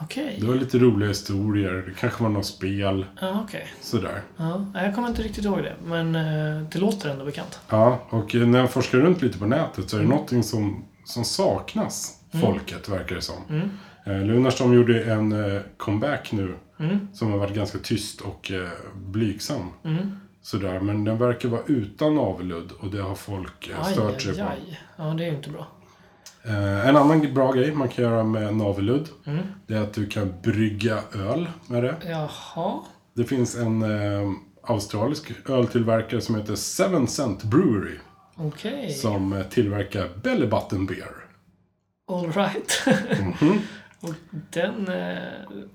Speaker 1: Okej.
Speaker 3: Det var lite roliga historier, det kanske var något spel,
Speaker 1: Ja, okej.
Speaker 3: sådär.
Speaker 1: Ja, nej, jag kommer inte riktigt ihåg det, men eh, det låter ändå bekant.
Speaker 3: Ja, och när jag forskar runt lite på nätet så
Speaker 1: Mm.
Speaker 3: är det någonting som, som saknas folket, verkar det som. Mm. Eh, Lunarstorm gjorde en eh, comeback nu
Speaker 1: Mm.
Speaker 3: som har varit ganska tyst och eh, blygsam.
Speaker 1: Mm.
Speaker 3: Sådär, men den verkar vara utan avludd och det har folk eh,
Speaker 1: Aj,
Speaker 3: stört sig
Speaker 1: aj,
Speaker 3: på.
Speaker 1: aj. Ja, det är ju inte bra.
Speaker 3: Eh, en annan bra grej man kan göra med navelludd,
Speaker 1: Mm.
Speaker 3: det är att du kan brygga öl med det.
Speaker 1: Jaha.
Speaker 3: Det finns en eh, australisk öltillverkare som heter Seven Cent Brewery
Speaker 1: Okej.
Speaker 3: som eh, tillverkar Belly Button Beer.
Speaker 1: All right.
Speaker 3: Mhm.
Speaker 1: Och den eh,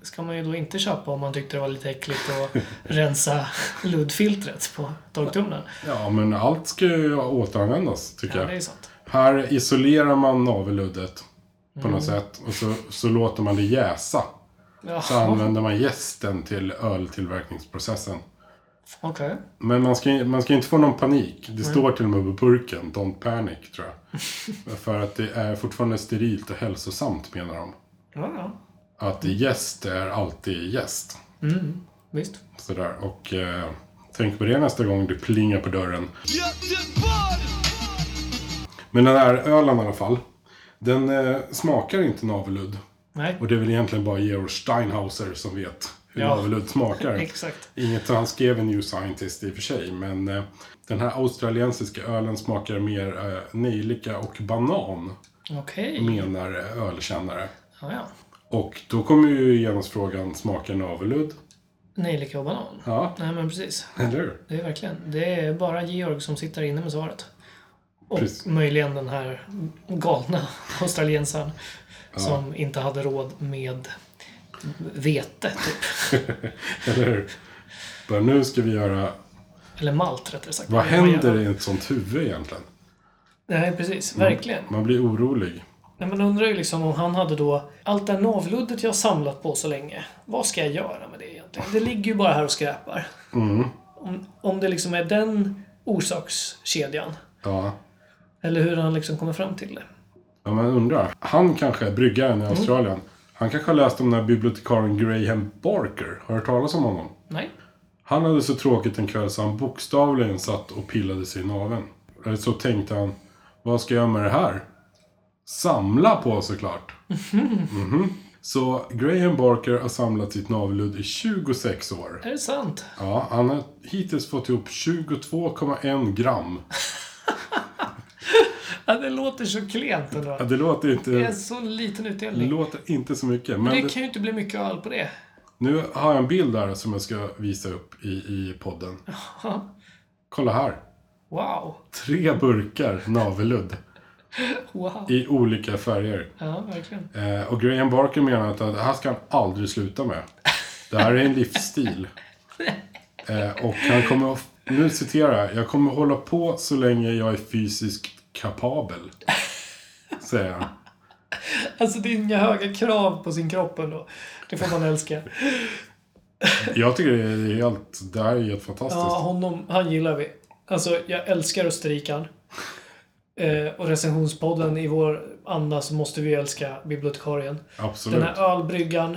Speaker 1: ska man ju då inte köpa om man tyckte det var lite äckligt att rensa luddfiltret på torktumlaren.
Speaker 3: Ja, men allt ska ju återanvändas, tycker
Speaker 1: Ja, det
Speaker 3: jag.
Speaker 1: är sant.
Speaker 3: Här isolerar man navelluddet på något
Speaker 1: Mm.
Speaker 3: sätt och så, så låter man det jäsa. Så
Speaker 1: Jaha,
Speaker 3: använder man jästen till öltillverkningsprocessen.
Speaker 1: okej.
Speaker 3: Men man ska, man ska inte få någon panik. Det står till och med på burken, don't panic, tror jag. För att det är fortfarande sterilt och hälsosamt, menar de.
Speaker 1: Ja, ja.
Speaker 3: Att jäst är alltid jäst.
Speaker 1: Visst.
Speaker 3: Sådär, och eh, tänk på det nästa gång du plingar på dörren. Men den här ölen i alla fall, den eh, smakar inte navelludd.
Speaker 1: Nej,
Speaker 3: Och det är väl egentligen bara Georg Steinhauser som vet hur
Speaker 1: Ja.
Speaker 3: navelludd smakar.
Speaker 1: exakt.
Speaker 3: Inget han skrev en New Scientist i och för sig, men eh, den här australiensiska ölen smakar mer eh, nejlika och banan,
Speaker 1: Okej.
Speaker 3: menar eh, ölkännare.
Speaker 1: Ja, ja.
Speaker 3: Och då kommer ju genast frågan, smakar navelludd?
Speaker 1: Nejlika och banan.
Speaker 3: Ja,
Speaker 1: Nej, men precis.
Speaker 3: eller hur?
Speaker 1: Det är verkligen. Det är bara Georg som sitter inne med svaret. Och
Speaker 3: Precis.
Speaker 1: möjligen den här galna australiensaren som inte hade råd med vete, typ.
Speaker 3: Eller hur? Bara nu ska vi göra...
Speaker 1: Eller malt, rättare sagt.
Speaker 3: Vad
Speaker 1: Det var
Speaker 3: händer
Speaker 1: jävla-
Speaker 3: i Mm. ett sånt huvud egentligen?
Speaker 1: Nej, precis. Verkligen.
Speaker 3: Man blir orolig.
Speaker 1: Nej, men undrar ju liksom om han hade då allt det här navluddet jag har samlat på så länge. Vad ska jag göra med det egentligen? Det ligger ju bara här och skräpar.
Speaker 3: Mm.
Speaker 1: Om, om det liksom är den orsakskedjan.
Speaker 3: Ja.
Speaker 1: Eller hur han liksom kommer fram till det.
Speaker 3: ja, man undrar. Han kanske är bryggaren i Australien. Han kanske har läst om den här bibliotekarien Graham Barker. Har du hört talas om honom?
Speaker 1: Nej.
Speaker 3: Han hade så tråkigt en kväll så han bokstavligen satt och pillade sig i naveln. Eller Så tänkte han, vad ska jag göra med det här? Samla på såklart. Mhm. Så Graham Barker har samlat sitt navelludd i 26 år.
Speaker 1: Är det sant?
Speaker 3: Ja, han har hittills fått ihop 22,1 gram.
Speaker 1: Ja, det låter så klent ändå.
Speaker 3: Ja, Det låter
Speaker 1: Det är
Speaker 3: inte,
Speaker 1: så liten
Speaker 3: det
Speaker 1: utdelning.
Speaker 3: låter inte så mycket. Men
Speaker 1: Det
Speaker 3: det,
Speaker 1: kan ju inte bli mycket öl på det.
Speaker 3: nu har jag en bild där som jag ska visa upp i, i podden.
Speaker 1: Ja.
Speaker 3: Kolla här.
Speaker 1: Wow.
Speaker 3: Tre burkar navelludd
Speaker 1: Wow.
Speaker 3: i olika färger.
Speaker 1: Ja, verkligen.
Speaker 3: Eh, och Graham Barker menar att det här ska han aldrig sluta med. Det här är en livsstil. Eh, och han kommer, att- nu citerar jag, jag kommer hålla på så länge jag är fysiskt kapabel. Säger han.
Speaker 1: Alltså det är inga höga krav på sin kropp ändå. Det får man älska.
Speaker 3: Jag tycker det är helt, det här är helt fantastiskt.
Speaker 1: Ja, honom, han gillar vi. Alltså, jag älskar österrikaren. Eh, och recensionspodden i vår anda så måste vi älska bibliotekarien.
Speaker 3: Absolut.
Speaker 1: Den här ölbryggan.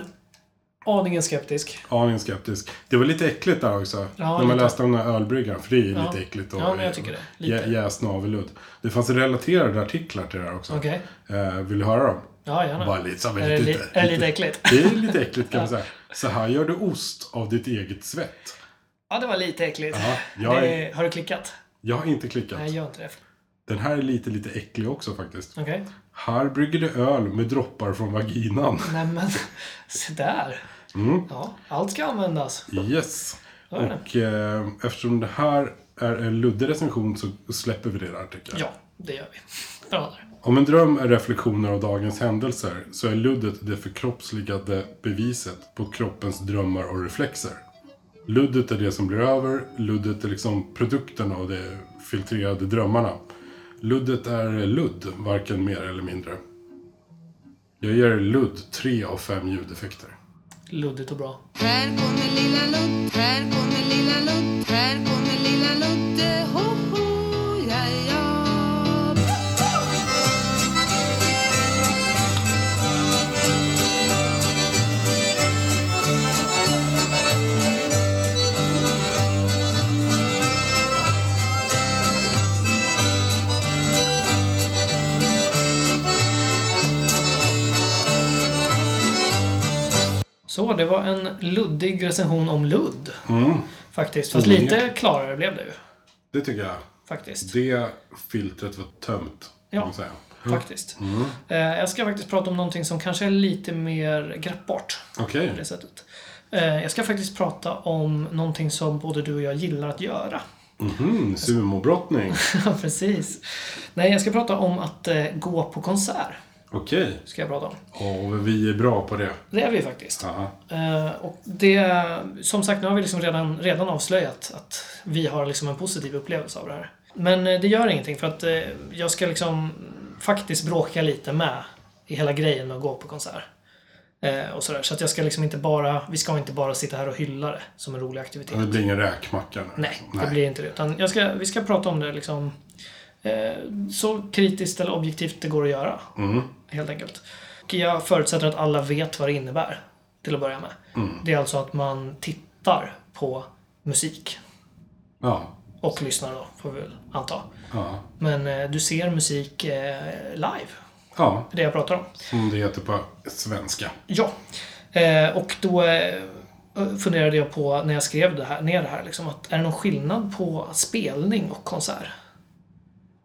Speaker 1: Aningen skeptisk.
Speaker 3: Aningen skeptisk. Det var lite äckligt där också.
Speaker 1: Ja,
Speaker 3: när man
Speaker 1: lite.
Speaker 3: läste om den här ölbryggan. För det är ju
Speaker 1: Ja.
Speaker 3: lite äckligt. Och,
Speaker 1: Ja, men jag tycker det. Lite.
Speaker 3: Jä- Jäst navelludd. Det fanns relaterade artiklar till det här också.
Speaker 1: Okej.
Speaker 3: Eh, vill du höra dem?
Speaker 1: Ja, gärna.
Speaker 3: Bara lite så
Speaker 1: är, det
Speaker 3: här,
Speaker 1: li-
Speaker 3: lite,
Speaker 1: är det lite äckligt?
Speaker 3: Det är lite äckligt kan man säga. Så här gör du ost av ditt eget svett.
Speaker 1: Ja, det var lite äckligt.
Speaker 3: Ja, jag, är,
Speaker 1: Det, har du klickat?
Speaker 3: jag har inte klickat.
Speaker 1: Nej, gör inte det.
Speaker 3: Den här är lite, lite äcklig också faktiskt.
Speaker 1: Okej.
Speaker 3: Här brygger du öl med droppar från vaginan.
Speaker 1: Nej, men se där.
Speaker 3: Mm.
Speaker 1: Ja, allt ska användas.
Speaker 3: Yes.
Speaker 1: Ja, det.
Speaker 3: Och eh, eftersom det här är en luddig recension så släpper vi det där tycker jag.
Speaker 1: Ja, det gör vi. Bra där.
Speaker 3: Om en dröm är reflektioner av dagens händelser så är luddet det förkroppsligade beviset på kroppens drömmar och reflexer. Luddet är det som blir över, luddet är liksom produkten av de filtrerade drömmarna. Luddet är ludd, varken mer eller mindre. Jag ger ludd tre av fem ljudeffekter.
Speaker 1: luddigt och bra.
Speaker 6: Här kommer lilla Lott, här kommer lilla Lott, här kommer lilla Lotte, ho ho, ja ja.
Speaker 1: Så, det var en luddig recension om ludd.
Speaker 3: Mm,
Speaker 1: Faktiskt. Fast
Speaker 3: Mm.
Speaker 1: lite klarare blev det ju.
Speaker 3: det tycker jag.
Speaker 1: Faktiskt.
Speaker 3: Det filtret var tömt.
Speaker 1: Ja.
Speaker 3: Kan man säga.
Speaker 1: Faktiskt.
Speaker 3: Mm.
Speaker 1: Eh, Jag ska faktiskt prata om någonting som kanske är lite mer greppbart.
Speaker 3: Okej.
Speaker 1: På det sättet. Eh, Jag ska faktiskt prata om någonting som både du och jag gillar att göra.
Speaker 3: Mhm, sumobrottning.
Speaker 1: Ja, precis. Nej, jag ska prata om att eh, gå på konsert.
Speaker 3: Okej.
Speaker 1: Ska jag prata om.
Speaker 3: Och vi är bra på det.
Speaker 1: Det är vi faktiskt.
Speaker 3: Ja.
Speaker 1: Eh, och det, som sagt, nu har vi liksom redan, redan avslöjat att vi har liksom en positiv upplevelse av det här. Men eh, det gör ingenting för att eh, jag ska liksom faktiskt bråka lite med i hela grejen med att gå på konsert. Eh, och sådär. Så att jag ska liksom inte bara, vi ska inte bara sitta här och hylla det som en rolig aktivitet.
Speaker 3: Det blir ingen räkmacka nu.
Speaker 1: Nej, det blir inte det. Utan jag ska, vi ska prata om det liksom eh, så kritiskt eller objektivt det går att göra. Helt enkelt. Och jag förutsätter att alla vet vad det innebär. Till att börja med. Det är alltså att man tittar på musik.
Speaker 3: Ja.
Speaker 1: Och lyssnar då, får vi väl anta.
Speaker 3: Ja.
Speaker 1: Men eh, du ser musik eh, live.
Speaker 3: Ja,
Speaker 1: Det är det jag pratar om.
Speaker 3: som det heter på svenska.
Speaker 1: Ja. Eh, och då eh, funderade jag på när jag skrev det här, ner det här liksom, att är det någon skillnad på spelning och konsert?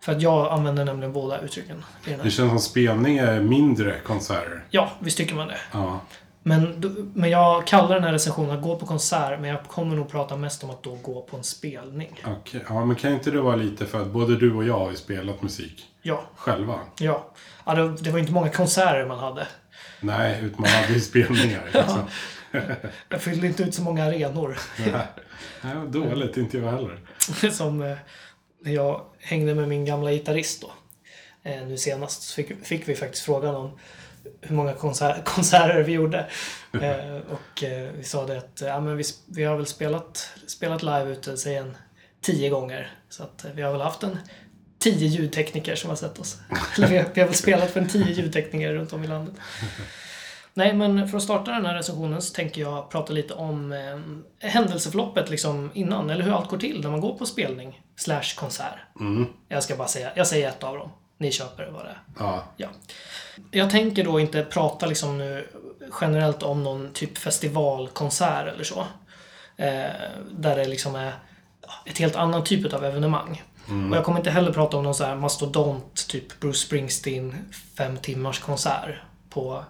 Speaker 1: För att jag använder nämligen båda uttrycken. i den här.
Speaker 3: Det känns som spelning är mindre konserter.
Speaker 1: Ja, visst tycker man det.
Speaker 3: Ja.
Speaker 1: Men, då- men jag kallar den här recensionen att gå på konsert, men jag kommer nog prata mest om att då gå på en spelning.
Speaker 3: Okej. ja, men kan inte det vara lite för att både du och jag har ju spelat musik
Speaker 1: Ja,
Speaker 3: själva?
Speaker 1: ja. ja det, det var ju inte många konserter man hade.
Speaker 3: Nej, utan man hade ju spelningar. Liksom.
Speaker 1: Jag fyllde inte ut så många arenor.
Speaker 3: Nej, Nej, vad dåligt. Inte jag heller.
Speaker 1: som eh, när jag hängde med min gamla gitarrist då. Eh, nu senast så fick, fick vi faktiskt frågan om hur många konser- konserter vi gjorde. Eh, och eh, vi sa det att eh, ja, men vi, sp- vi har väl spelat, spelat live ute, säg en tio gånger. Så att eh, vi har väl haft en tio ljudtekniker som har sett oss. Eller vi, har- vi har väl spelat för en tio ljudtekniker runt om i landet. Nej, men för att starta den här recensionen så tänker jag prata lite om eh, händelseförloppet liksom innan, eller hur allt går till när man går på spelning slash konsert. Jag ska bara säga, jag säger ett av dem. Ni köper vad det är.
Speaker 3: Ja.
Speaker 1: Ja. Jag tänker då inte prata liksom nu generellt om någon typ festivalkonsert eller så. Eh, där det liksom är ett helt annat typ av evenemang. Och jag kommer inte heller prata om någon så här mastodont, typ Bruce Springsteen, fem timmars konsert på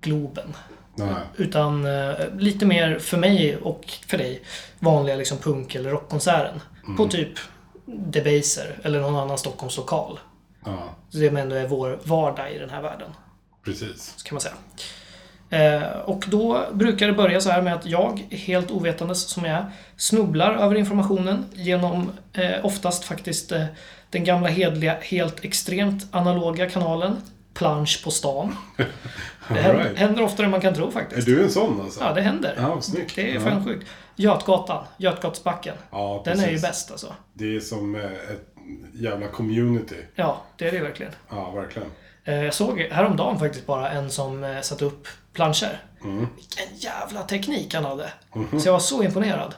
Speaker 1: Globen.
Speaker 3: Nej.
Speaker 1: Utan eh, lite mer för mig och för dig vanliga liksom punk eller rockkonserten. På typ Debaser eller någon annan Stockholmslokal.
Speaker 3: Ja,
Speaker 1: Så det ändå är vår vardag i den här världen.
Speaker 3: precis.
Speaker 1: Så kan man säga. Eh, och då brukar det börja så här med att jag, helt ovetandes som jag är, snubblar över informationen genom eh, oftast faktiskt eh, den gamla hedliga, helt extremt analoga kanalen Plansch på stan. Det
Speaker 3: All
Speaker 1: händer,
Speaker 3: right.
Speaker 1: händer oftare än man kan tro
Speaker 3: Är
Speaker 1: faktiskt.
Speaker 3: du en sån alltså?
Speaker 1: Ja, det händer.
Speaker 3: Ja, snyggt.
Speaker 1: Det är
Speaker 3: Ja.
Speaker 1: fan sjukt. Götgatan, Götgatsbacken.
Speaker 3: Ja,
Speaker 1: den
Speaker 3: precis.
Speaker 1: är ju bäst alltså.
Speaker 3: Det är som eh, ett jävla community.
Speaker 1: Ja, det är det verkligen.
Speaker 3: Ja, verkligen.
Speaker 1: Eh, Jag såg häromdagen faktiskt bara en som eh, satte upp planscher.
Speaker 3: Mm.
Speaker 1: Vilken jävla teknik han hade.
Speaker 3: Mm-hmm.
Speaker 1: Så jag var så imponerad.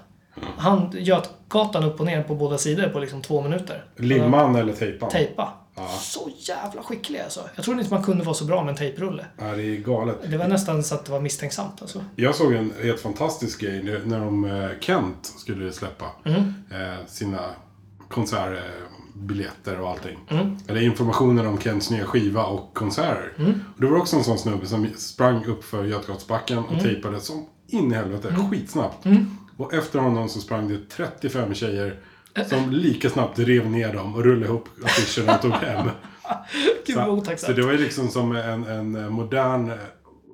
Speaker 1: Han göt gatan upp och ner på båda sidor på liksom två minuter.
Speaker 3: Limman eller tejpan?
Speaker 1: Tejpa. Så jävla skicklig alltså. Jag trodde inte man kunde vara så bra med en tejprulle.
Speaker 3: Ja, det är galet.
Speaker 1: Det var nästan så att det var misstänksamt alltså.
Speaker 3: Jag såg en helt fantastisk grej nu- när de, eh, Kent skulle släppa eh, sina konsertbiljetter och allting. Eller informationen om Kents nya skiva och konserter. Och det var också en sån snubbe som sprang upp för Götgatsbacken och tejpade som in i helvete, skitsnabbt. Och efter honom så sprang det 35 tjejer som lika snabbt rev ner dem och rullade ihop affischerna och tog hem.
Speaker 1: Gud vad
Speaker 3: Så, så
Speaker 1: otacksamt.
Speaker 3: det var ju liksom som en, en modern eh,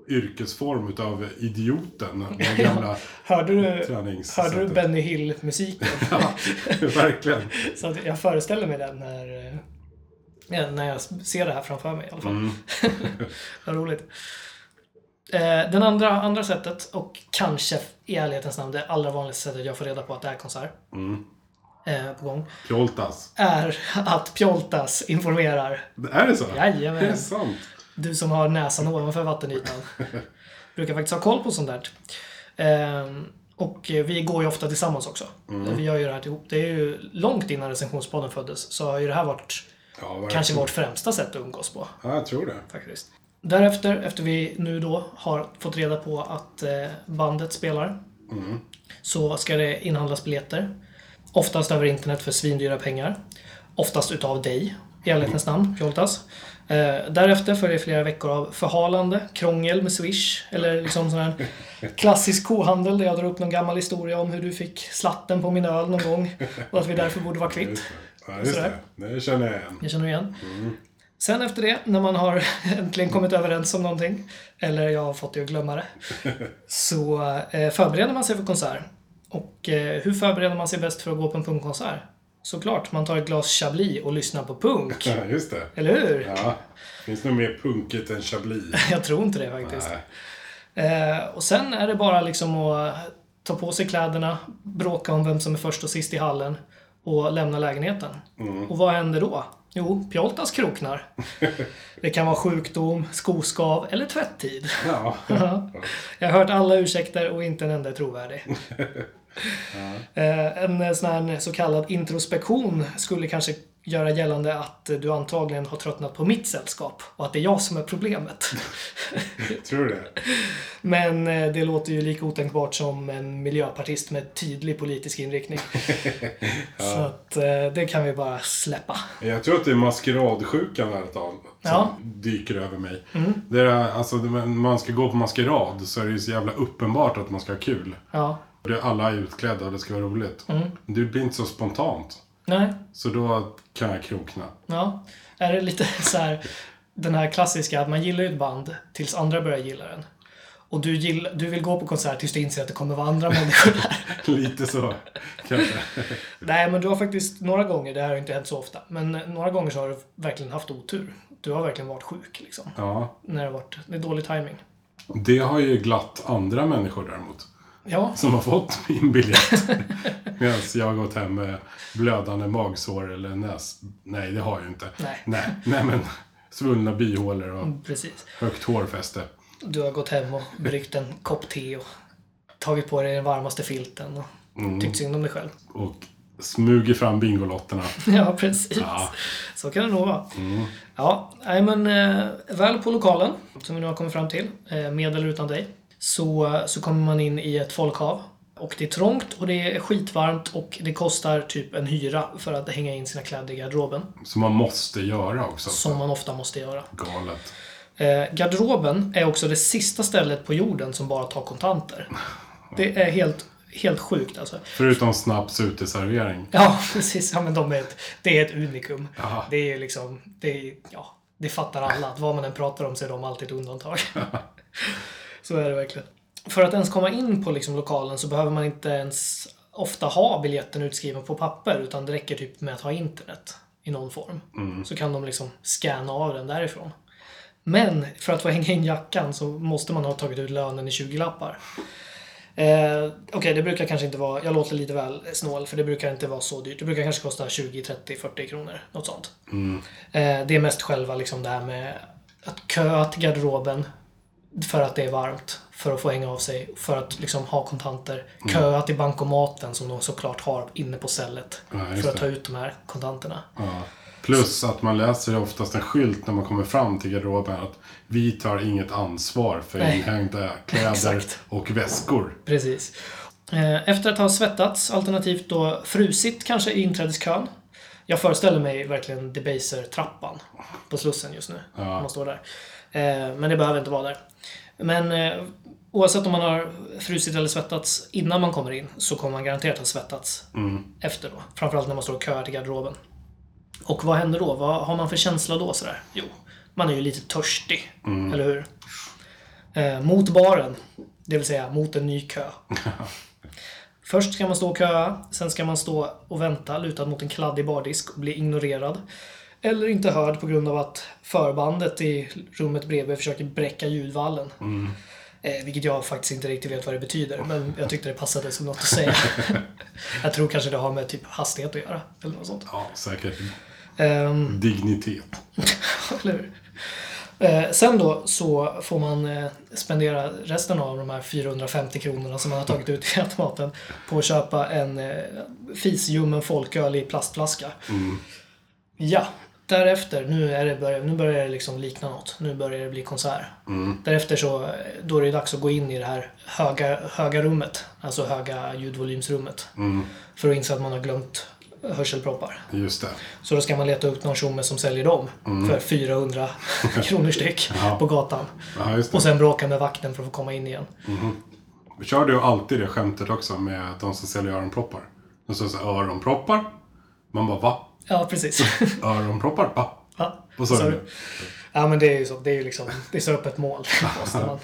Speaker 3: yrkesform utav idioten. Den gamla
Speaker 1: Hörde du,
Speaker 3: träningssättet.
Speaker 1: hörde du Benny Hill-musiken?
Speaker 3: Ja, verkligen.
Speaker 1: Så att jag föreställer mig den när, eh, ja, när jag ser det här framför mig i alla fall. Vad roligt. Eh, Den andra, andra sättet, och kanske i ärlighetens namn det allra vanligaste sättet jag får reda på att det är konsert eh, på gång,
Speaker 3: Pjoltas.
Speaker 1: är att Pjoltas informerar.
Speaker 3: Är det så?
Speaker 1: Jajamän.
Speaker 3: Det är sant.
Speaker 1: Du som har näsan ovanför vattenytan brukar faktiskt ha koll på sånt där. Ehm, Och eh, vi går ju ofta tillsammans också. Vi gör ju det här ihop. Det är ju långt innan recensionspodden föddes så har ju det här varit
Speaker 3: Ja, verkligen.
Speaker 1: kanske vårt främsta sätt att umgås på.
Speaker 3: Ja, jag tror det.
Speaker 1: faktiskt. Därefter, efter vi nu då har fått reda på att eh, bandet spelar, så ska det inhandlas biljetter. Oftast över internet för svindyra pengar. Oftast utav dig, i ärlighetens namn, Pjoltas. Eh, därefter följer flera veckor av förhalande, krångel med Swish, eller liksom sån här klassisk kohandel där jag drar upp någon gammal historia om hur du fick slatten på min öl någon gång och att vi därför borde vara kvitt.
Speaker 3: Ja, just
Speaker 1: Sådär.
Speaker 3: det. Det känner jag igen.
Speaker 1: Jag känner igen.
Speaker 3: Mm.
Speaker 1: Sen efter det, när man har äntligen kommit överens om någonting, eller jag har fått det att glömma det, så eh, förbereder man sig för konsert. Och eh, hur förbereder man sig bäst för att gå på en punkkonsert? Såklart, man tar ett glas Chablis och lyssnar på punk.
Speaker 3: Ja, just det.
Speaker 1: Eller hur?
Speaker 3: Ja. Finns nog mer punket än Chablis.
Speaker 1: Jag tror inte det faktiskt.
Speaker 3: Nej.
Speaker 1: Eh, och sen är det bara liksom att ta på sig kläderna, bråka om vem som är först och sist i hallen och lämna lägenheten. Och vad händer då? Jo, Pjoltas kroknar. Det kan vara sjukdom, skoskav eller tvätttid.
Speaker 3: Ja.
Speaker 1: Jag har hört alla ursäkter och inte en enda är trovärdig. Eh, En sån här så kallad introspektion skulle kanske göra gällande att du antagligen har tröttnat på mitt sällskap och att det är jag som är problemet.
Speaker 3: Tror du det?
Speaker 1: Men eh, det låter ju lika otänkbart som en miljöpartist med tydlig politisk inriktning. Så att eh, det kan vi bara släppa.
Speaker 3: Jag tror att det är maskeradsjukan här ett tag som
Speaker 1: Ja. Mm.
Speaker 3: dyker över mig. Det är, alltså, när man ska gå på maskerad så är det ju så jävla uppenbart att man ska ha kul.
Speaker 1: Ja.
Speaker 3: Det är alla är utklädda och det ska vara roligt.
Speaker 1: Mm.
Speaker 3: Det blir inte så spontant.
Speaker 1: Nej.
Speaker 3: Så då kan jag krokna.
Speaker 1: Ja. Är det lite så här den här klassiska att man gillar ju ett band tills andra börjar gilla den. Och du, gill, du vill gå på konsert tills du inser att det kommer vara andra människor där.
Speaker 3: Lite så, kanske.
Speaker 1: Nej, men du har faktiskt några gånger, det här har inte hänt så ofta, men eh, några gånger så har du verkligen haft otur. Du har verkligen varit sjuk liksom.
Speaker 3: Ja.
Speaker 1: När det, har varit, det är dålig timing.
Speaker 3: Det har ju glatt andra människor däremot.
Speaker 1: Ja,
Speaker 3: Som har fått min biljett. Medan jag har gått hem med blödande magsår eller näs... Nej, det har jag ju inte.
Speaker 1: Nej.
Speaker 3: Nej, nej men svullna bihålor och
Speaker 1: precis.
Speaker 3: högt hårfäste.
Speaker 1: Du har gått hem och bryggt en kopp te och tagit på dig den varmaste filten och tyckt synd om dig själv.
Speaker 3: Och smugit fram Bingolotterna.
Speaker 1: Ja, precis.
Speaker 3: Ja.
Speaker 1: Så kan det nog vara. Ja, nej men eh, väl på lokalen, som vi nu har kommit fram till, eh, med eller utan dig, så, så kommer man in i ett folkhav. Och det är trångt och det är skitvarmt och det kostar typ en hyra för att hänga in sina kläder i garderoben.
Speaker 3: Som man måste göra också.
Speaker 1: Som man ofta måste göra.
Speaker 3: Galet.
Speaker 1: Eh, garderoben är också det sista stället på jorden som bara tar kontanter. Det är helt, helt sjukt alltså.
Speaker 3: Förutom snaps uteservering.
Speaker 1: Ja, precis. Ja, men de är ett, det är ett unikum.
Speaker 3: Ja.
Speaker 1: Det är ju liksom, det, är, ja, det fattar alla. Att vad man än pratar om så är de alltid ett undantag. så är det verkligen. För att ens komma in på liksom lokalen så behöver man inte ens ofta ha biljetten utskriven på papper utan det räcker typ med att ha internet i någon form. Så kan de liksom scanna av den därifrån. Men för att få hänga in jackan så måste man ha tagit ut lönen i 20-lappar. Eh, Okej, det brukar kanske inte vara, jag låter lite väl snål för det brukar inte vara så dyrt. Det brukar kanske kosta 20, 30, 40 kronor. Något sånt.
Speaker 3: Mm.
Speaker 1: Eh, det är mest själva liksom det här med att köa till garderoben för att det är varmt. För att få hänga av sig, för att liksom ha kontanter.
Speaker 3: Mm.
Speaker 1: Köa till bankomaten som de såklart har inne på stället.
Speaker 3: Ja, just
Speaker 1: för att
Speaker 3: det.
Speaker 1: ta ut de här kontanterna.
Speaker 3: Ja. Plus att man läser oftast en skylt när man kommer fram till garderoben att vi tar inget ansvar för
Speaker 1: Nej.
Speaker 3: inhängda kläder
Speaker 1: Exakt.
Speaker 3: och väskor.
Speaker 1: Precis. Eh, Efter att ha svettats, alternativt då frusit kanske i inträdeskön. Jag föreställer mig verkligen Debaser-trappan på Slussen just nu. Om Man står där. Eh, Men det behöver inte vara där. Men eh, oavsett om man har frusit eller svettats innan man kommer in så kommer man garanterat ha svettats efter då. Framförallt när man står och köar till garderoben. Och vad händer då? Vad har man för känsla då? Sådär? Jo, man är ju lite törstig, eller hur? Eh, mot baren, det vill säga mot en ny kö. Först ska man stå och köa, sen ska man stå och vänta lutad mot en kladdig bardisk och bli ignorerad. Eller inte hörd på grund av att förbandet i rummet bredvid försöker bräcka ljudvallen. Eh, vilket jag faktiskt inte riktigt vet vad det betyder, men jag tyckte det passade som något att säga. jag tror kanske det har med typ hastighet att göra, eller något sånt.
Speaker 3: Ja, säkert.
Speaker 1: Ehm,
Speaker 3: Dignitet.
Speaker 1: eller hur? Eh, sen då så får man eh, spendera resten av de här 450 kronorna som man har tagit ut i automaten på att köpa en eh, fisljummen folköl i plastflaska. Ja, därefter, nu, är det börja, nu börjar det liksom likna något. Nu börjar det bli konsert. Därefter så, eh, då är det dags att gå in i det här höga, höga rummet, alltså höga ljudvolymsrummet. För att inse att man har glömt hörselproppar.
Speaker 3: Just det.
Speaker 1: Så då ska man leta upp någon tjomme som säljer dem
Speaker 3: Mm.
Speaker 1: för 400 kronor styck på gatan.
Speaker 3: Ja, just
Speaker 1: Och
Speaker 3: det.
Speaker 1: sen bråka med vakten för att få komma in igen.
Speaker 3: Kör du alltid det skämtet också med de som säljer öronproppar? De säger så här, öronproppar? Man bara, va?
Speaker 1: Ja, precis.
Speaker 3: Öronproppar? Va?
Speaker 1: Ja,
Speaker 3: Vad sa
Speaker 1: så-
Speaker 3: du?
Speaker 1: Ja, men det är ju så. Det är ju liksom, det är så öppet mål. måste man.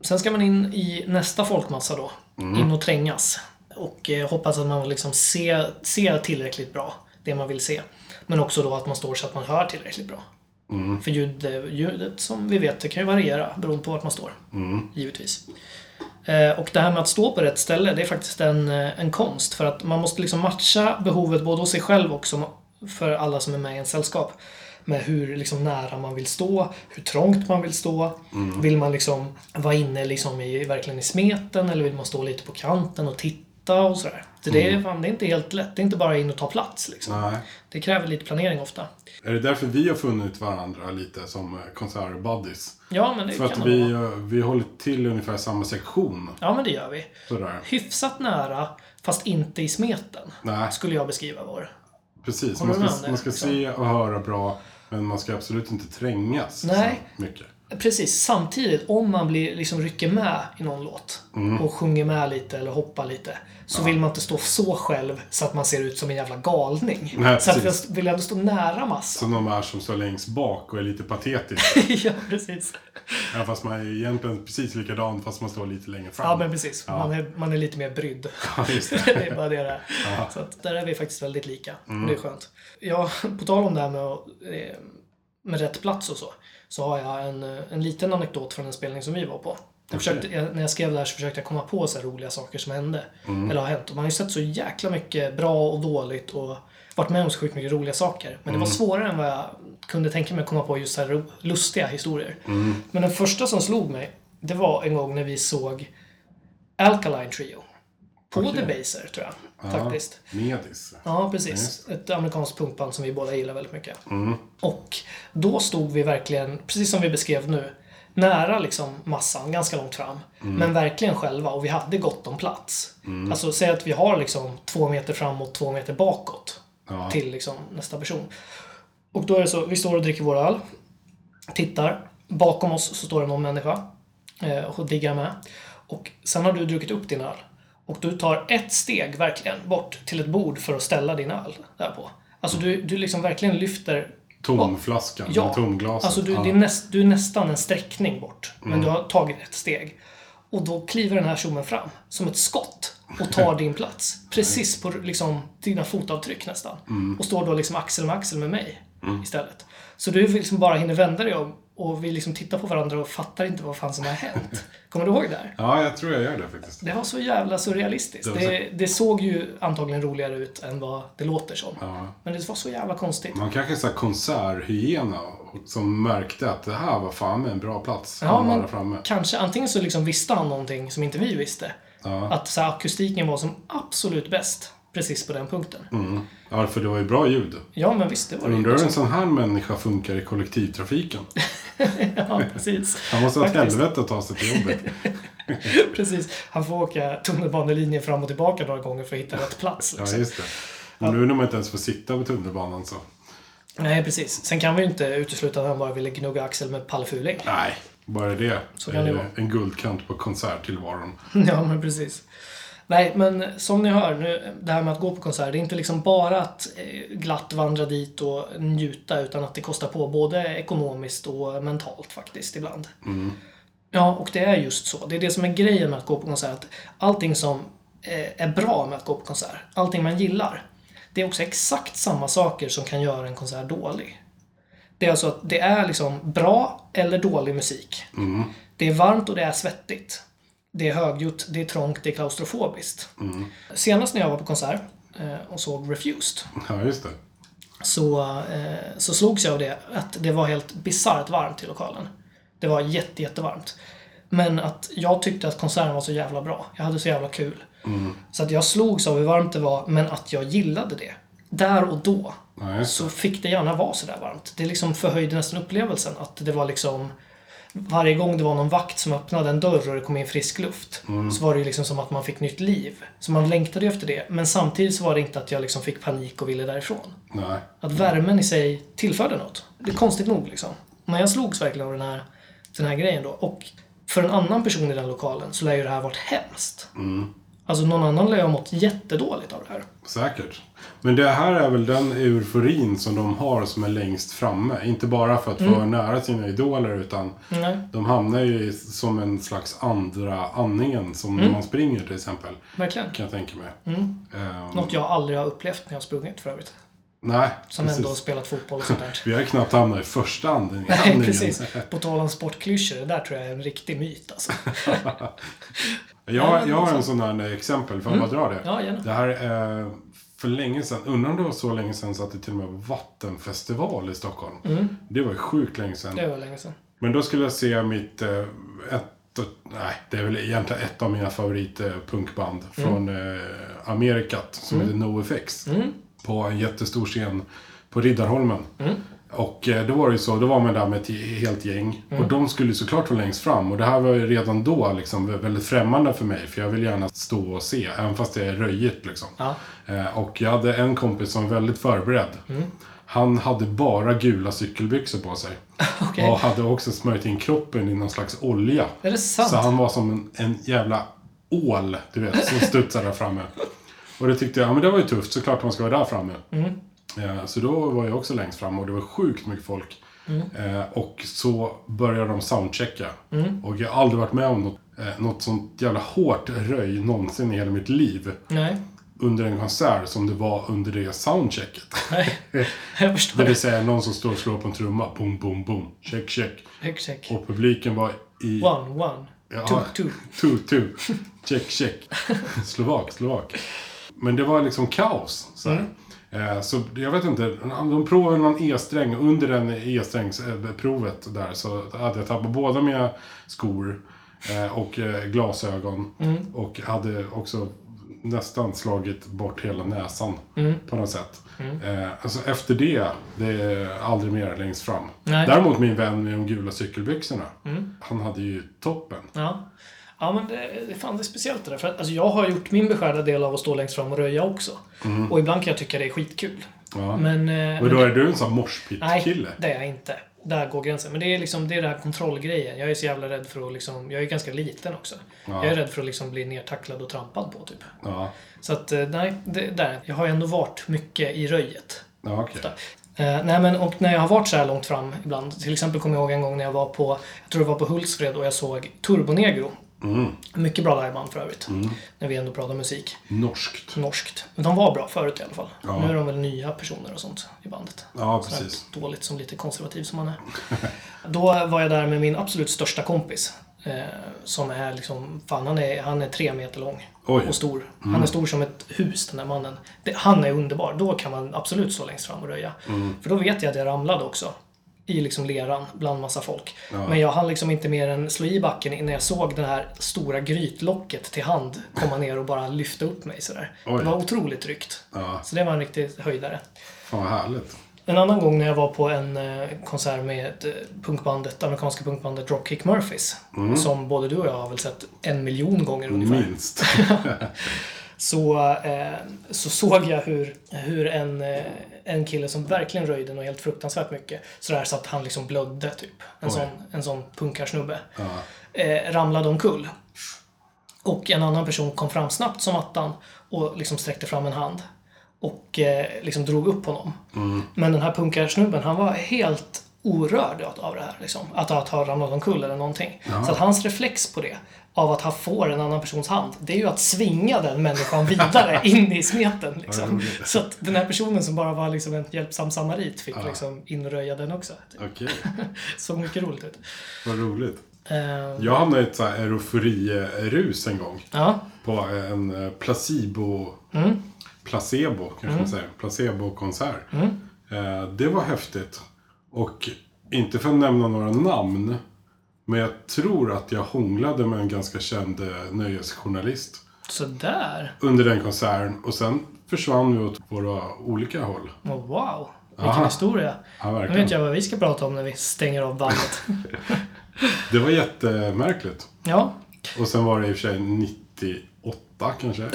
Speaker 1: Sen ska man in i nästa folkmassa då.
Speaker 3: Mm.
Speaker 1: In och trängas. Och eh, hoppas att man liksom ser, ser tillräckligt bra det man vill se. Men också då att man står så att man hör tillräckligt bra. För ljud, eh, ljudet som vi vet, det kan ju variera beroende på vart man står.
Speaker 3: Mm.
Speaker 1: Givetvis. Eh, Och det här med att stå på rätt ställe, det är faktiskt en, eh, en konst. För att man måste liksom matcha behovet både hos sig själv och som, för alla som är med i en sällskap. Med hur liksom nära man vill stå, hur trångt man vill stå.
Speaker 3: Mm.
Speaker 1: Vill man liksom vara inne liksom i, verkligen i smeten eller vill man stå lite på kanten och titta och sådär. Så det, är, fan, det är inte helt lätt. Det är inte bara in och ta plats liksom.
Speaker 3: Mm. Nej.
Speaker 1: Det kräver lite planering ofta.
Speaker 3: Är det därför vi har funnit varandra lite som eh, konsertbuddies?
Speaker 1: Ja, men det
Speaker 3: För
Speaker 1: kan
Speaker 3: att
Speaker 1: det
Speaker 3: vi,
Speaker 1: vara.
Speaker 3: eh, vi håller till ungefär samma sektion.
Speaker 1: Ja, men det gör vi.
Speaker 3: Sådär.
Speaker 1: Hyfsat nära, fast inte i smeten.
Speaker 3: Nej.
Speaker 1: Skulle jag beskriva vår.
Speaker 3: Precis,
Speaker 1: Håller
Speaker 3: man
Speaker 1: du med om
Speaker 3: ska,
Speaker 1: det,
Speaker 3: man ska
Speaker 1: liksom?
Speaker 3: se och höra bra, men man ska absolut inte trängas
Speaker 1: Nej.
Speaker 3: så mycket.
Speaker 1: Precis, samtidigt om man blir, liksom rycker med i någon låt
Speaker 3: Mm.
Speaker 1: och sjunger med lite eller hoppar lite så vill man inte stå så själv så att man ser ut som en jävla galning.
Speaker 3: Nej,
Speaker 1: så att jag
Speaker 3: precis.
Speaker 1: vill ändå stå nära massan.
Speaker 3: Som de är som står längst bak och är lite patetiska.
Speaker 1: ja, precis.
Speaker 3: Även fast man är egentligen precis likadan fast man står lite längre fram.
Speaker 1: Ja, men precis. Man, är, man är lite mer brydd.
Speaker 3: Ja, just det. Mm.
Speaker 1: det är bara det där. Så att där är vi faktiskt väldigt lika. Och det är skönt. Ja, på tal om det här med, att, eh, med rätt plats och så. Så har jag en, eh, en liten anekdot från en spelning som vi var på. Jag försökte, jag, när jag skrev det här så försökte jag komma på så här roliga saker som hände.
Speaker 3: Mm.
Speaker 1: Eller har hänt. Och man har ju sett så jäkla mycket bra och dåligt och varit med om så sjukt mycket roliga saker. Men det var
Speaker 3: Mm.
Speaker 1: svårare än vad jag kunde tänka mig att komma på just så här ro- lustiga historier.
Speaker 3: Mm.
Speaker 1: Men den första som slog mig, det var en gång när vi såg Alkaline Trio. På Debaser tror jag. Faktiskt.
Speaker 3: Medis.
Speaker 1: Ja, precis. Ett amerikanskt punkband som vi båda gillar väldigt mycket. Och då stod vi verkligen, precis som vi beskrev nu, nära liksom massan, ganska långt fram. Men verkligen själva och vi hade gott om plats. Alltså säg att vi har liksom två meter framåt, två meter bakåt
Speaker 3: Ja.
Speaker 1: till liksom nästa person. Och då är det så, vi står och dricker vår öl, tittar. Bakom oss så står det någon människa eh, och diggar med. Och sen har du druckit upp din öl. Och du tar ett steg verkligen bort till ett bord för att ställa din öl där på. Alltså du, du liksom verkligen lyfter
Speaker 3: Tomflaskan,
Speaker 1: Ja,
Speaker 3: med tomglaset.
Speaker 1: alltså du,
Speaker 3: ja. Mm.
Speaker 1: det är näst, du är nästan en sträckning bort. Men du har tagit ett steg. Och då kliver den här tjommen fram som ett skott och tar din plats. Precis på liksom, dina fotavtryck nästan.
Speaker 3: Mm.
Speaker 1: Och står då liksom axel med axel med mig istället. Så du liksom bara hinner vända dig om och vi liksom tittar på varandra och fattar inte vad fan som har hänt. Kommer du ihåg det här?
Speaker 3: ja, jag tror jag gör det faktiskt.
Speaker 1: Det var så jävla surrealistiskt.
Speaker 3: var så-
Speaker 1: Det, det såg ju antagligen roligare ut än vad det låter som.
Speaker 3: Ja.
Speaker 1: Men det var så jävla konstigt.
Speaker 3: Man kanske är så här konserthyena och- som märkte att det här var fan med en bra plats.
Speaker 1: Ja,
Speaker 3: Han var där
Speaker 1: men
Speaker 3: framme.
Speaker 1: kanske antingen så liksom visste han någonting som inte vi visste. Att så här, akustiken var som absolut bäst precis på den punkten.
Speaker 3: Ja, för det var ju bra ljud.
Speaker 1: Ja, men visst, det var det
Speaker 3: Mm. Undrar hur
Speaker 1: ju.
Speaker 3: en sån här människa funkar i kollektivtrafiken.
Speaker 1: Ja, precis.
Speaker 3: Han måste ha ett
Speaker 1: Faktiskt.
Speaker 3: helvete att ta sig till jobbet.
Speaker 1: precis. Han får åka tunnelbanelinjen fram och tillbaka några gånger för att hitta rätt plats. Liksom.
Speaker 3: Ja, just det. Och nu när man inte ens får sitta på tunnelbanan så.
Speaker 1: Nej, precis. Sen kan vi ju inte utesluta att han bara ville gnugga axel med Palle Fuling.
Speaker 3: Nej, bara det.
Speaker 1: Så kan det
Speaker 3: är
Speaker 1: vara.
Speaker 3: En guldkant på konserttillvaron.
Speaker 1: Ja, men precis. Nej, men som ni hör, nu, det här med att gå på konsert, det är inte liksom bara att eh, glatt vandra dit och njuta, utan att det kostar på både ekonomiskt och mentalt faktiskt ibland. Ja, och det är just så. Det är det som är grejen med att gå på konsert. Allting som eh, är bra med att gå på konsert, allting man gillar, det är också exakt samma saker som kan göra en konsert dålig. Det är alltså att det är liksom bra eller dålig musik. Det är varmt och det är svettigt. Det är högljutt, det är trångt, det är klaustrofobiskt. Senast när jag var på konsert eh, och såg Refused
Speaker 3: Ja, just det.
Speaker 1: så, eh, så slogs jag av det att det var helt bisarrt varmt i lokalen. Det var jätte, jättevarmt. Men att jag tyckte att konserten var så jävla bra. Jag hade så jävla kul.
Speaker 3: Mm.
Speaker 1: Så att jag slogs av hur varmt det var, men att jag gillade det. Där och då
Speaker 3: Ja, just
Speaker 1: så fick det gärna vara sådär varmt. Det liksom förhöjde nästan upplevelsen. Att det var liksom varje gång det var någon vakt som öppnade en dörr och det kom in frisk luft
Speaker 3: Mm.
Speaker 1: så var det ju liksom som att man fick nytt liv. Så man längtade ju efter det. Men samtidigt så var det inte att jag liksom fick panik och ville därifrån.
Speaker 3: Nej.
Speaker 1: Att värmen i sig tillförde något. Det är konstigt nog liksom. Men jag slogs verkligen av den här, den här grejen då. Och för en annan person i den lokalen så lär ju det här varit hemskt.
Speaker 3: Mm.
Speaker 1: Alltså någon annan lär ju ha mått jättedåligt av det här.
Speaker 3: Säkert. Men det här är väl den euforin som de har som är längst framme. Inte bara för att
Speaker 1: Mm.
Speaker 3: vara nära sina idoler utan
Speaker 1: Nej.
Speaker 3: de hamnar ju i- som en slags andra andningen som
Speaker 1: Mm.
Speaker 3: när man springer till exempel.
Speaker 1: Verkligen.
Speaker 3: Kan jag tänka mig. Ehm,
Speaker 1: Mm. Något jag aldrig har upplevt när jag har sprungit för övrigt.
Speaker 3: nej,
Speaker 1: Som
Speaker 3: precis.
Speaker 1: ändå har spelat fotboll och sånt där.
Speaker 3: Vi har ju knappt hamnat i första andningen.
Speaker 1: Nej, precis. På tal om sportklyschor, det där tror jag är en riktig myt alltså.
Speaker 3: Jag, jag har en sån här eh, exempel, får jag bara dra det?
Speaker 1: liksom- Mm. Ja, gärna.
Speaker 3: Det här är eh, för länge sedan, undrar om det var så länge sedan så att det till och med var vattenfestival i Stockholm.
Speaker 1: Mm.
Speaker 3: Det var ju sjukt länge sedan.
Speaker 1: Det var länge sedan.
Speaker 3: Men då skulle jag se mitt... eh, Ett, nej, det är väl egentligen ett av mina favoritpunkband från eh, Amerikat som heter NoFX. På en jättestor scen på Riddarholmen. Och eh, då var det ju så, då var man där med ett helt gäng. Och de skulle ju såklart vara längst fram. Och det här var ju redan då liksom väldigt främmande för mig. För jag vill gärna stå och se, även fast det är röjigt liksom.
Speaker 1: Ja.
Speaker 3: Eh, Och jag hade en kompis som var väldigt förberedd.
Speaker 1: Mm.
Speaker 3: Han hade bara gula cykelbyxor på sig.
Speaker 1: Okej.
Speaker 3: Och hade också smörjt in kroppen i någon slags olja.
Speaker 1: Är det sant?
Speaker 3: Så han var som en, en jävla ål, du vet, som studsade där framme. Och det tyckte jag, ja men det var ju tufft, såklart man ska vara där framme.
Speaker 1: Mm.
Speaker 3: Eh, Så då var jag också längst fram och det var sjukt mycket folk.
Speaker 1: Mm.
Speaker 3: Eh, Och så började de soundchecka.
Speaker 1: Mm.
Speaker 3: Och jag har aldrig varit med om något, eh, något sånt jävla hårt röj någonsin i hela mitt liv.
Speaker 1: Nej,
Speaker 3: Under en konsert som det var under det soundchecket.
Speaker 1: nej. Jag
Speaker 3: Det
Speaker 1: förstår.
Speaker 3: vill säga någon som står och slår på en trumma. Boom, boom, boom. Check, check.
Speaker 1: Check, check.
Speaker 3: Och publiken var i...
Speaker 1: One, one.
Speaker 3: Ja.
Speaker 1: Two, two.
Speaker 3: Two, two. Check, check. Slovak, slovak. Men det var liksom kaos. Så, här. Eh, så jag vet inte, de provade någon E-sträng. Under den E-strängsprovet där så hade jag tappat båda mina skor eh, och eh, glasögon. Och hade också nästan slagit bort hela näsan på något sätt. Eh, alltså efter det, det är aldrig mer längst fram.
Speaker 1: Nej.
Speaker 3: Däremot min vän med de gula cykelbyxorna, han hade ju toppen.
Speaker 1: Ja. Ja men det, det, fan, det är speciellt det där. För att, alltså, jag har gjort min beskärda del av att stå längst fram och röja också. Och ibland kan jag tycka det är skitkul.
Speaker 3: Mhm. Ja.
Speaker 1: Men... eh,
Speaker 3: Men då
Speaker 1: men-
Speaker 3: är du en sån
Speaker 1: Nej,
Speaker 3: morspitt-kille?
Speaker 1: det är jag inte. Där går gränsen. Men det är liksom det är den här kontrollgrejen. Jag är så jävla rädd för att liksom... Jag är ganska liten också. Jag är rädd för att liksom bli nertacklad och trampad på typ.
Speaker 3: Ja,
Speaker 1: Så att eh, nej, det, där. Jag har ju ändå varit mycket i röjet.
Speaker 3: ja okej.
Speaker 1: Eh, nej men, och när jag har varit så här långt fram ibland, till exempel kommer jag ihåg en gång när jag var på, jag tror det var på Hultsfred och jag såg Turbonegro. Mycket bra liveband för övrigt. När vi ändå pratar musik.
Speaker 3: Norskt.
Speaker 1: Norskt. Men de var bra förut i alla fall.
Speaker 3: Ja.
Speaker 1: Nu är de väl nya personer och sånt i bandet.
Speaker 3: Ja,
Speaker 1: Sådär
Speaker 3: precis.
Speaker 1: Dåligt som lite konservativ som man är. Då var jag där med min absolut största kompis. Eh, som är liksom, fan han är, han är tre meter lång.
Speaker 3: Oj. Mm.
Speaker 1: Och stor. Han är stor som ett hus den där mannen. Det, han är underbar. Då kan man absolut stå längst fram och röja.
Speaker 3: Mm.
Speaker 1: För då vet jag att jag ramlade också. I liksom leran bland massa folk. Men jag hann liksom inte mer än slå i backen innan jag såg det här stora grytlocket till hand komma ner och bara lyfta upp mig sådär.
Speaker 3: Oj.
Speaker 1: Det var otroligt tryggt.
Speaker 3: Ja.
Speaker 1: Så det var en riktig höjdare.
Speaker 3: Fan vad härligt.
Speaker 1: En annan gång när jag var på en eh, konsert med eh, punkbandet, amerikanska punkbandet Dropkick Murphys. Som både du och jag har väl sett en miljon gånger
Speaker 3: Mm.
Speaker 1: ungefär.
Speaker 3: Minst.
Speaker 1: Så, eh, så såg jag hur, hur en, eh, en kille som verkligen röjde något helt fruktansvärt mycket. Sådär så att han liksom blödde typ. En, sån, en sån punkarsnubbe. Eh, ramlade omkull. Och en annan person kom fram snabbt som attan och liksom sträckte fram en hand. Och eh, liksom drog upp honom. Men den här punkarsnubben, han var helt orörd av- av det här. Liksom. Att, att ha ramlat omkull eller någonting. Så att hans reflex på det, av att han får en annan persons hand, det är ju att svinga den människan vidare in i smeten. Liksom. Så att den här personen som bara var liksom en hjälpsam samarit fick liksom inröja den också.
Speaker 3: Okej,
Speaker 1: Såg mycket roligt ut.
Speaker 3: vad roligt.
Speaker 1: Eh,
Speaker 3: Jag hamnade i ett så här eufori-rus en gång.
Speaker 1: ja,
Speaker 3: På en eh, placebo...
Speaker 1: Mm.
Speaker 3: Placebo, kanske man säger. Placebo-konsert.
Speaker 1: Mm.
Speaker 3: Eh, det var häftigt. Och inte för att nämna några namn. Men jag tror att jag hånglade med en ganska känd eh, nöjesjournalist.
Speaker 1: sådär.
Speaker 3: Under den konserten. Och sen försvann vi åt våra olika håll.
Speaker 1: Oh, wow, vilken
Speaker 3: Aha.
Speaker 1: historia.
Speaker 3: Ja,
Speaker 1: Nu vet
Speaker 3: verkligen.
Speaker 1: jag vad vi ska prata om när vi stänger av bandet.
Speaker 3: Det var jättemärkligt.
Speaker 1: ja,
Speaker 3: Och sen var det i och för sig 98 kanske.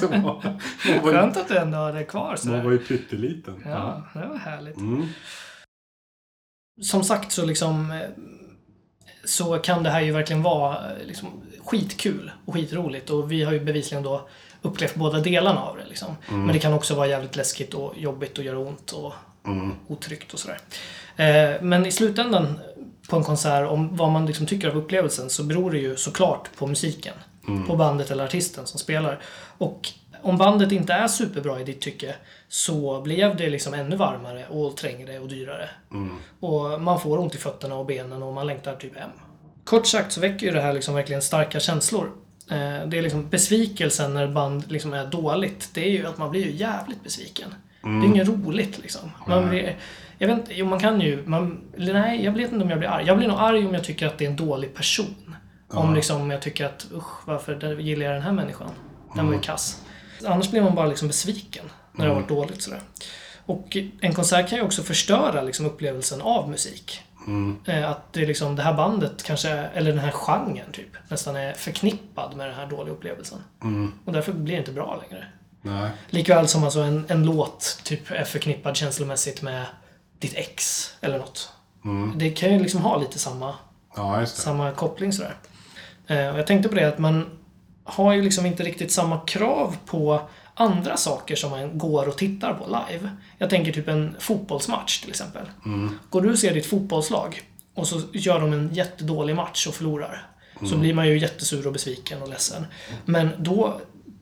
Speaker 3: Så man, man, var, ju-
Speaker 1: skönt att du ändå har det kvar
Speaker 3: man
Speaker 1: sådär.
Speaker 3: var ju pytteliten.
Speaker 1: Ja, det var härligt.
Speaker 3: Mm.
Speaker 1: Som sagt så liksom eh, så kan det här ju verkligen vara eh, liksom, skitkul och skitroligt och vi har ju bevisligen då upplevt båda delarna av det. Liksom. Men det kan också vara jävligt läskigt och jobbigt och göra ont och otryggt och sådär. Eh, men i slutändan på en konsert, om vad man liksom tycker av upplevelsen, så beror det ju såklart på musiken. På bandet eller artisten som spelar. Och om bandet inte är superbra i ditt tycke så blev det liksom ännu varmare och trängre och dyrare. Och man får ont i fötterna och benen och man längtar typ hem. Kort sagt så väcker ju det här liksom verkligen starka känslor. Eh, Det är liksom besvikelsen när band liksom är dåligt. Det är ju att man blir ju jävligt besviken. Det är inget roligt liksom. Man blir, jag vet inte, jo man kan ju, man, eller nej jag vet inte om jag blir arg. Jag blir nog arg om jag tycker att det är en dålig person. Om liksom jag tycker att usch varför där gillar jag den här människan? Den var ju kass. Annars blir man bara liksom besviken när det har varit dåligt sådär. Och en konsert kan ju också förstöra liksom upplevelsen av musik. Eh, Att det, är liksom, det här bandet kanske, eller den här genren typ, nästan är förknippad med den här dåliga upplevelsen. Och därför blir det inte bra längre.
Speaker 3: Nej.
Speaker 1: Likväl som alltså en, en låt typ är förknippad känslomässigt med ditt ex eller något. Det kan ju liksom ha lite samma
Speaker 3: Ja, just det.
Speaker 1: samma koppling sådär. Eh, och jag tänkte på det att man har ju liksom inte riktigt samma krav på andra saker som man går och tittar på live. Jag tänker typ en fotbollsmatch till exempel.
Speaker 3: Mm.
Speaker 1: Går du och ser ditt fotbollslag och så gör de en jättedålig match och förlorar.
Speaker 3: Mm.
Speaker 1: Så blir man ju jättesur och besviken och ledsen. Men då,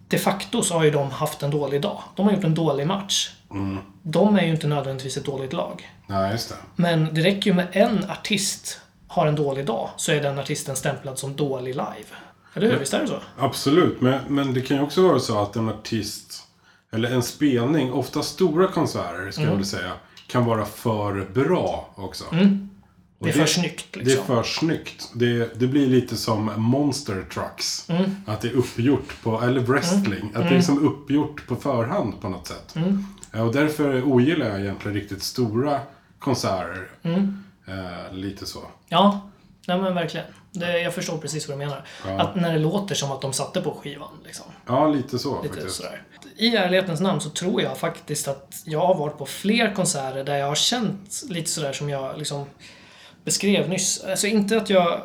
Speaker 1: de facto så har ju de haft en dålig dag. De har gjort en dålig match.
Speaker 3: Mm.
Speaker 1: De är ju inte nödvändigtvis ett dåligt lag.
Speaker 3: Nej, just det.
Speaker 1: Men det räcker ju med en artist har en dålig dag så är den artisten stämplad som dålig live. Eller hur? Visst är det så?
Speaker 3: Absolut, men, men det kan ju också vara så att en artist eller en spelning, ofta stora konserter ska jag
Speaker 1: Mm.
Speaker 3: väl säga, kan vara för bra också. Och
Speaker 1: Mm. Det är för snyggt liksom.
Speaker 3: Det är för snyggt. Det, det blir lite som monster trucks.
Speaker 1: Mm.
Speaker 3: Att det är uppgjort på, eller wrestling, att det är liksom uppgjort på förhand på något sätt.
Speaker 1: Mm.
Speaker 3: Eh, Och därför ogillar jag egentligen riktigt stora konserter.
Speaker 1: Mm.
Speaker 3: Eh, lite så.
Speaker 1: Ja, nej men verkligen. Det, jag förstår precis vad du menar. Att när det låter som att de satte på skivan liksom.
Speaker 3: Ja, lite så
Speaker 1: Lite
Speaker 3: faktiskt.
Speaker 1: sådär. I ärlighetens namn så tror jag faktiskt att jag har varit på fler konserter där jag har känt lite sådär som jag liksom beskrev nyss. Alltså inte att jag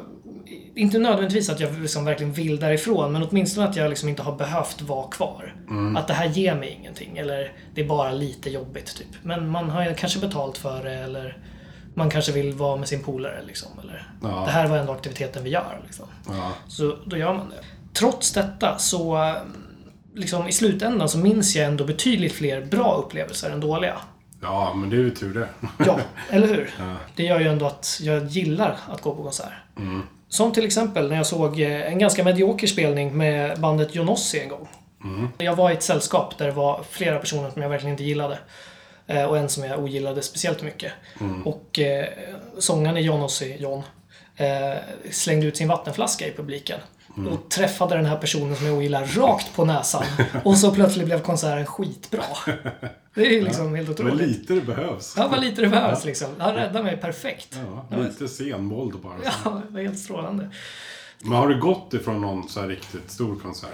Speaker 1: inte nödvändigtvis att jag liksom verkligen vill därifrån, men åtminstone att jag liksom inte har behövt vara kvar.
Speaker 3: Mm.
Speaker 1: Att det här ger mig ingenting, eller det är bara lite jobbigt typ. Men man har ju kanske betalt för det, eller man kanske vill vara med sin polare liksom. Eller,
Speaker 3: Ja.
Speaker 1: Det här var ändå aktiviteten vi gör liksom.
Speaker 3: Ja.
Speaker 1: Så då gör man det. Trots detta så eh, liksom, i slutändan så minns jag ändå betydligt fler bra upplevelser än dåliga.
Speaker 3: ja, men det är ju tur det.
Speaker 1: Ja, eller hur? Det gör ju ändå att jag gillar att gå på konsert. Som till exempel när jag såg eh, en ganska medioker spelning med bandet Jonossi en gång. Jag var i ett sällskap där det var flera personer som jag verkligen inte gillade. Eh, Och en som jag ogillade speciellt mycket. Och eh, sångaren i Jonossi, John, eh, slängde ut sin vattenflaska i publiken. Och träffade den här personen som jag ogillar rakt på näsan. Och så plötsligt blev konserten skitbra. Det är ju liksom helt otroligt.
Speaker 3: Men lite det behövs.
Speaker 1: Ja, vad lite det behövs liksom. Han räddade mig perfekt.
Speaker 3: Ja, lite senvåld bara.
Speaker 1: Ja, det var helt strålande.
Speaker 3: Men har du gått ifrån någon så här riktigt stor konsert?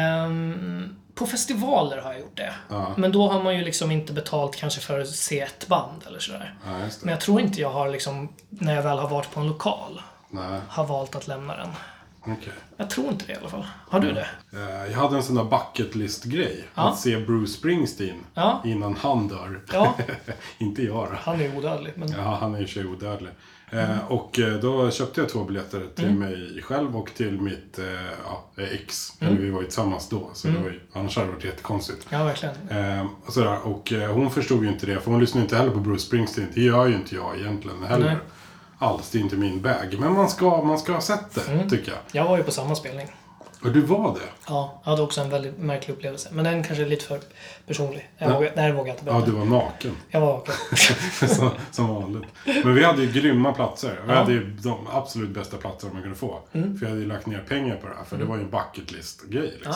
Speaker 1: Ehm, på festivaler har jag gjort det.
Speaker 3: Ja.
Speaker 1: Men då har man ju liksom inte betalt kanske för att se ett band eller sådär.
Speaker 3: Ja, just det.
Speaker 1: Men jag tror inte jag har liksom, när jag väl har varit på en lokal,
Speaker 3: Nej.
Speaker 1: har valt att lämna den.
Speaker 3: Okej.
Speaker 1: Jag tror inte det i alla fall. Har du det?
Speaker 3: Eh, Jag hade en sån där bucket list-grej.
Speaker 1: Ja.
Speaker 3: Att se Bruce Springsteen
Speaker 1: Ja.
Speaker 3: innan han dör.
Speaker 1: Ja.
Speaker 3: Inte jag då.
Speaker 1: Han är ju odödlig, men
Speaker 3: Ja, han är i och för sig odödlig. Eh, och eh, då köpte jag två biljetter till
Speaker 1: Mm.
Speaker 3: mig själv och till mitt eh, ja, ex.
Speaker 1: Mm.
Speaker 3: Eller vi var ju tillsammans då, så det var ju, annars hade det varit jättekonstigt.
Speaker 1: ja, verkligen.
Speaker 3: Eh, och sådär. och eh, hon förstod ju inte det, för hon lyssnar ju inte heller på Bruce Springsteen. Det gör ju inte jag egentligen heller.
Speaker 1: Nej.
Speaker 3: Alls, det är inte min bag. Men man ska, man ska ha sett det, tycker jag.
Speaker 1: Jag var ju på samma spelning.
Speaker 3: Och du var det?
Speaker 1: Ja, jag hade också en väldigt märklig upplevelse. Men den kanske är lite för personlig. Jag vågar, nej, det vågar jag inte
Speaker 3: Ja,
Speaker 1: berätta.
Speaker 3: du var naken.
Speaker 1: Jag var okej.
Speaker 3: som, som vanligt. Men vi hade ju grymma platser. Vi hade ju de absolut bästa platser man kunde få. För jag hade ju lagt ner pengar på det här. För det var ju en bucket list-grej. Liksom.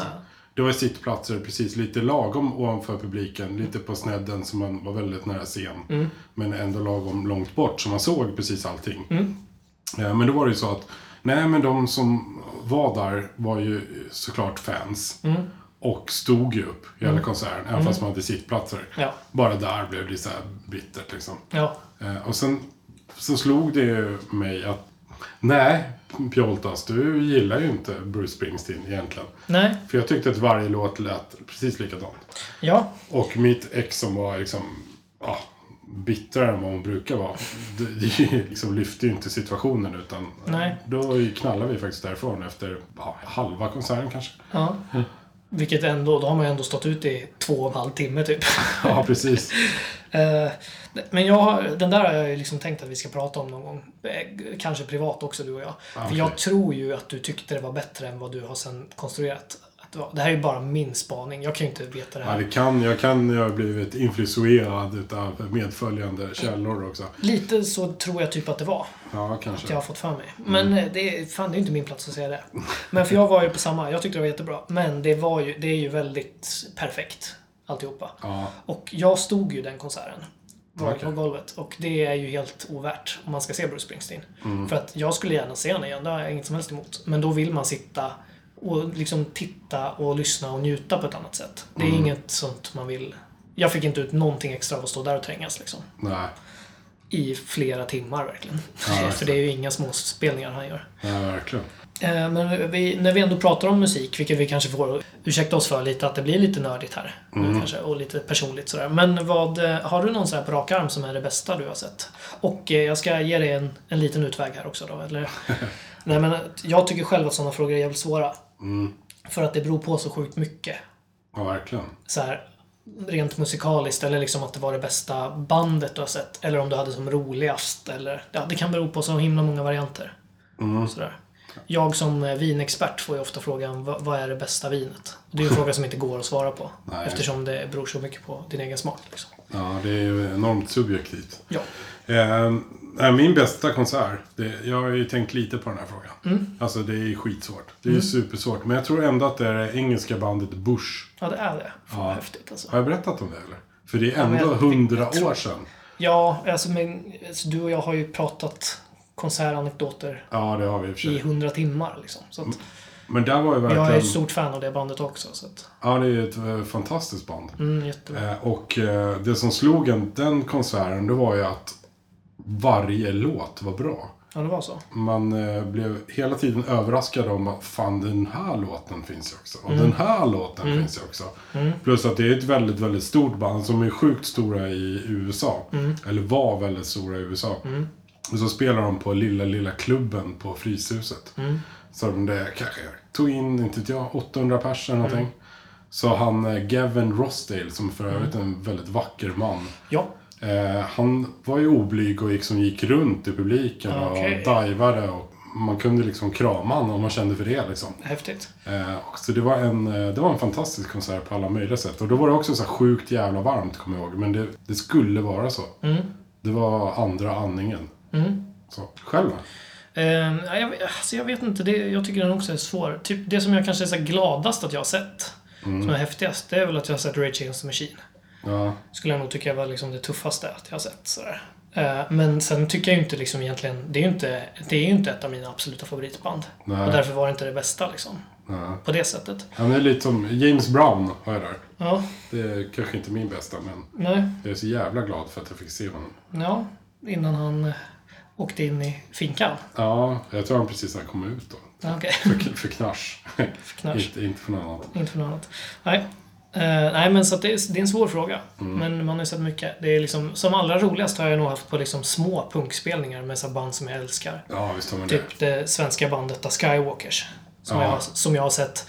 Speaker 3: Det var ju sittplatser precis lite lagom ovanför publiken. Lite på snedden så man var väldigt nära scen. Men ändå lagom långt bort så man såg precis allting. Eh, Men då var det ju så att, nej men de som var där var ju såklart fans. Och stod ju upp i hela konserten, även fast man hade sittplatser.
Speaker 1: Ja.
Speaker 3: Bara där blev det så här bittert liksom.
Speaker 1: Ja,
Speaker 3: Eh, Och sen så slog det ju mig att, nej Pjoltas, du gillar ju inte Bruce Springsteen egentligen.
Speaker 1: nej.
Speaker 3: För jag tyckte att varje låt lät precis likadant.
Speaker 1: Ja,
Speaker 3: Och mitt ex som var liksom, ja, bittrare än vad hon brukar vara. Det, det liksom lyfte ju inte situationen utan eh,
Speaker 1: Nej.
Speaker 3: då knallade vi faktiskt därifrån efter ja, halva konserten kanske.
Speaker 1: ja. Vilket ändå, då har man ju ändå stått ut i två och en halv timme typ.
Speaker 3: Ja, precis.
Speaker 1: Eh, Men jag, har- den där har jag ju liksom tänkt att vi ska prata om någon gång. Eh, Kanske privat också du och jag. För
Speaker 3: okej.
Speaker 1: jag tror ju att du tyckte det var bättre än vad du har sen konstruerat. Att det var- Det här är ju bara min spaning. Jag kan ju inte veta det
Speaker 3: Ja,
Speaker 1: här.
Speaker 3: det kan, jag kan ju ha blivit influerad utav medföljande källor också.
Speaker 1: Lite så tror jag typ att det var.
Speaker 3: Ja,
Speaker 1: Att jag
Speaker 3: kanske.
Speaker 1: har fått för mig.
Speaker 3: Mm.
Speaker 1: Men eh, det, är- fan, det är inte min plats att säga det. Men för jag var ju på samma. Jag tyckte det var jättebra. Men det, var ju, det är ju väldigt perfekt. Alltihopa.
Speaker 3: Ja,
Speaker 1: Och jag stod ju den konserten. Var
Speaker 3: Okej.
Speaker 1: på golvet. Och det är ju helt ovärt om man ska se Bruce Springsteen.
Speaker 3: Mm.
Speaker 1: För att jag skulle gärna se honom igen. Det har jag inget som helst emot. Men då vill man sitta och liksom titta och lyssna och njuta på ett annat sätt. Det är
Speaker 3: Mm.
Speaker 1: inget sånt man vill. Jag fick inte ut någonting extra av att stå där och trängas liksom
Speaker 3: nej.
Speaker 1: i flera timmar verkligen.
Speaker 3: Ja,
Speaker 1: För det är ju inga små spelningar han gör.
Speaker 3: Nej, verkligen.
Speaker 1: Eh, Men vi, när vi ändå pratar om musik, vilket vi kanske får ursäkta oss för lite, att det blir lite nördigt här. nu Kanske, och lite personligt sådär. Men vad, eh, har du någon så här på rak arm som är det bästa du har sett? Och eh, jag ska ge dig en, en liten utväg här också då. Eller? Nej, men att jag tycker själv att sådana frågor är jävligt svåra. För att det beror på så sjukt mycket
Speaker 3: Ja, verkligen.
Speaker 1: så här, rent musikaliskt eller liksom att det var det bästa bandet du har sett. Eller om du hade som roligast. Eller, ja, det kan bero på så himla många varianter.
Speaker 3: Mm.
Speaker 1: Sådär. Jag som eh, vinexpert får ju ofta frågan "Va- vad är det bästa vinet? Det är ju en fråga som inte går att svara på.
Speaker 3: Nej.
Speaker 1: Eftersom det beror så mycket på din egen smak. Liksom.
Speaker 3: Ja, det är ju enormt subjektivt.
Speaker 1: Ja.
Speaker 3: Eh, nej, min bästa konsert, det, jag har ju tänkt lite på den här frågan.
Speaker 1: Mm.
Speaker 3: Alltså det är skitsvårt. Det är ju supersvårt. Men jag tror ändå att det är det engelska bandet Bush.
Speaker 1: ja, det är det. Fan vad
Speaker 3: Ja.
Speaker 1: häftigt alltså.
Speaker 3: Har jag berättat om det eller? För det är
Speaker 1: men
Speaker 3: ändå
Speaker 1: jag-
Speaker 3: hundra
Speaker 1: jag tror-
Speaker 3: år sedan.
Speaker 1: Ja, alltså, men, alltså, du och jag har ju pratat konsertanekdoter
Speaker 3: Ja, det har vi i och för
Speaker 1: i
Speaker 3: sig.
Speaker 1: hundra timmar. Liksom. Så att,
Speaker 3: Men där var ju
Speaker 1: jag är
Speaker 3: Mm, verkligen...
Speaker 1: ett stort fan av det bandet också. Så att,
Speaker 3: Ja, det är ju ett eh, fantastiskt band.
Speaker 1: mm, jättebra.
Speaker 3: Eh, Och eh, det som slog en den konserten, det var ju att varje låt var bra.
Speaker 1: Ja, det var så.
Speaker 3: man eh, blev hela tiden överraskad om att fan den här låten finns ju också. Och den här låten finns ju också. Plus att det är ett väldigt, väldigt stort band som är sjukt stora i USA. Eller var väldigt stora i USA. Och så spelar de på lilla, lilla klubben på Fryshuset. Så de där kanske tog in, inte vet jag, 800 pers eller någonting. Så han eh, Gavin Rossdale, som för övrigt är en väldigt vacker man.
Speaker 1: Ja,
Speaker 3: Eh, han var ju oblyg och liksom gick runt i publiken
Speaker 1: Okej.
Speaker 3: och divade. Och man kunde liksom krama honom om man kände för det. Liksom.
Speaker 1: häftigt.
Speaker 3: Eh, och så det var, en, eh, det var en fantastisk konsert på alla möjliga sätt. Och då var det också så här sjukt jävla varmt, kommer jag ihåg. Men det, det skulle vara så. Det var andra andningen. Så, själv då?
Speaker 1: Ehm, ja, jag, alltså jag vet inte, det, jag tycker den också är svår. Typ det som jag kanske är så här gladast att jag har sett, som är häftigast, det är väl att jag har sett Rage Against the Machine.
Speaker 3: Ja,
Speaker 1: Skulle jag nog tycka var liksom det tuffaste att jag har sett. Sådär. Eh, Men sen tycker jag ju inte liksom egentligen, det är ju inte, det är ju inte ett av mina absoluta favoritband.
Speaker 3: Nej.
Speaker 1: Och därför var det inte det bästa liksom.
Speaker 3: ja.
Speaker 1: På det sättet.
Speaker 3: Han är lite som James Brown, har jag där.
Speaker 1: Ja,
Speaker 3: Det är kanske inte min bästa, men
Speaker 1: nej,
Speaker 3: jag är så jävla glad för att jag fick se honom.
Speaker 1: ja. Innan han eh, åkte in i finkan.
Speaker 3: Ja, jag tror han precis har kommit ut då.
Speaker 1: Ja, Okej,
Speaker 3: För, för knasch.
Speaker 1: knasch.
Speaker 3: inte, inte för något annat.
Speaker 1: Inte för något annat. Nej. Eh, nej, men så att det, är, det är en svår fråga.
Speaker 3: Mm.
Speaker 1: Men man har ju sett mycket. Det är liksom, som allra roligast har jag nog haft på liksom små punkspelningar med så här band som jag älskar.
Speaker 3: Ja, visst har man det.
Speaker 1: Typ det svenska bandet The Skywalkers. Som,
Speaker 3: Ja.
Speaker 1: jag, som jag har sett,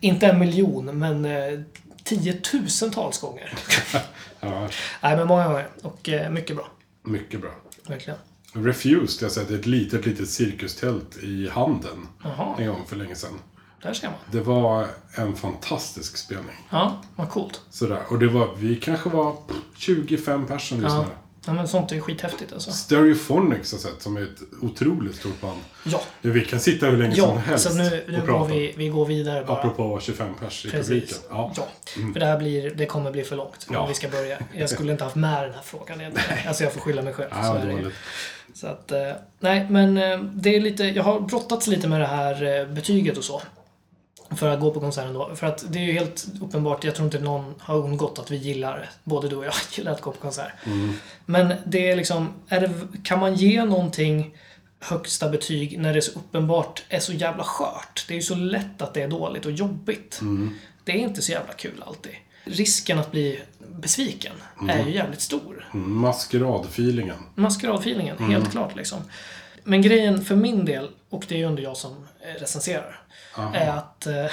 Speaker 1: inte en miljon, men eh, tiotusentals gånger.
Speaker 3: Ja,
Speaker 1: nej, men många gånger. Och eh, mycket bra.
Speaker 3: mycket bra.
Speaker 1: Verkligen.
Speaker 3: Refused, jag har sett ett litet, litet cirkustält i Handen
Speaker 1: Jaha.
Speaker 3: en gång för länge sedan.
Speaker 1: Där ser man.
Speaker 3: Det var en fantastisk spelning.
Speaker 1: Ja, vad coolt.
Speaker 3: Sådär. Och det var, vi kanske var 25 personer
Speaker 1: Ja.
Speaker 3: lyssnare.
Speaker 1: ja, men sånt är ju skithäftigt alltså.
Speaker 3: Stereophonics har jag sett, som är ett otroligt stort band.
Speaker 1: Ja,
Speaker 3: Ja, vi kan sitta hur länge som
Speaker 1: ja
Speaker 3: helst
Speaker 1: så att nu, nu
Speaker 3: och
Speaker 1: går
Speaker 3: prata.
Speaker 1: vi, vi går vidare bara.
Speaker 3: Apropå 25 pers i publiken.
Speaker 1: Precis.
Speaker 3: Ja. Mm.
Speaker 1: Ja, för det här blir, det kommer bli för långt om
Speaker 3: Ja.
Speaker 1: vi ska börja. Jag skulle inte haft med den här frågan egentligen. Alltså jag får skylla mig själv.
Speaker 3: Ja,
Speaker 1: så, är det. ju.
Speaker 3: Äh, dåligt.
Speaker 1: så att, eh, nej men eh, det är lite, jag har brottats lite med det här eh, betyget och så. För att gå på konserten då. För att det är ju helt uppenbart, jag tror inte någon har undgått att vi gillar, både du och jag gillar att gå på konsert. Men det är liksom, är det, kan man ge någonting högsta betyg när det så uppenbart är så jävla skört? Det är ju så lätt att det är dåligt och jobbigt. Det är inte så jävla kul alltid. Risken att bli besviken är ju jävligt stor.
Speaker 3: Mm, Maskeradfeelingen.
Speaker 1: Maskeradfeelingen, helt klart liksom. Men grejen för min del, och det är ju ändå jag som eh, recenserar, är att, eh,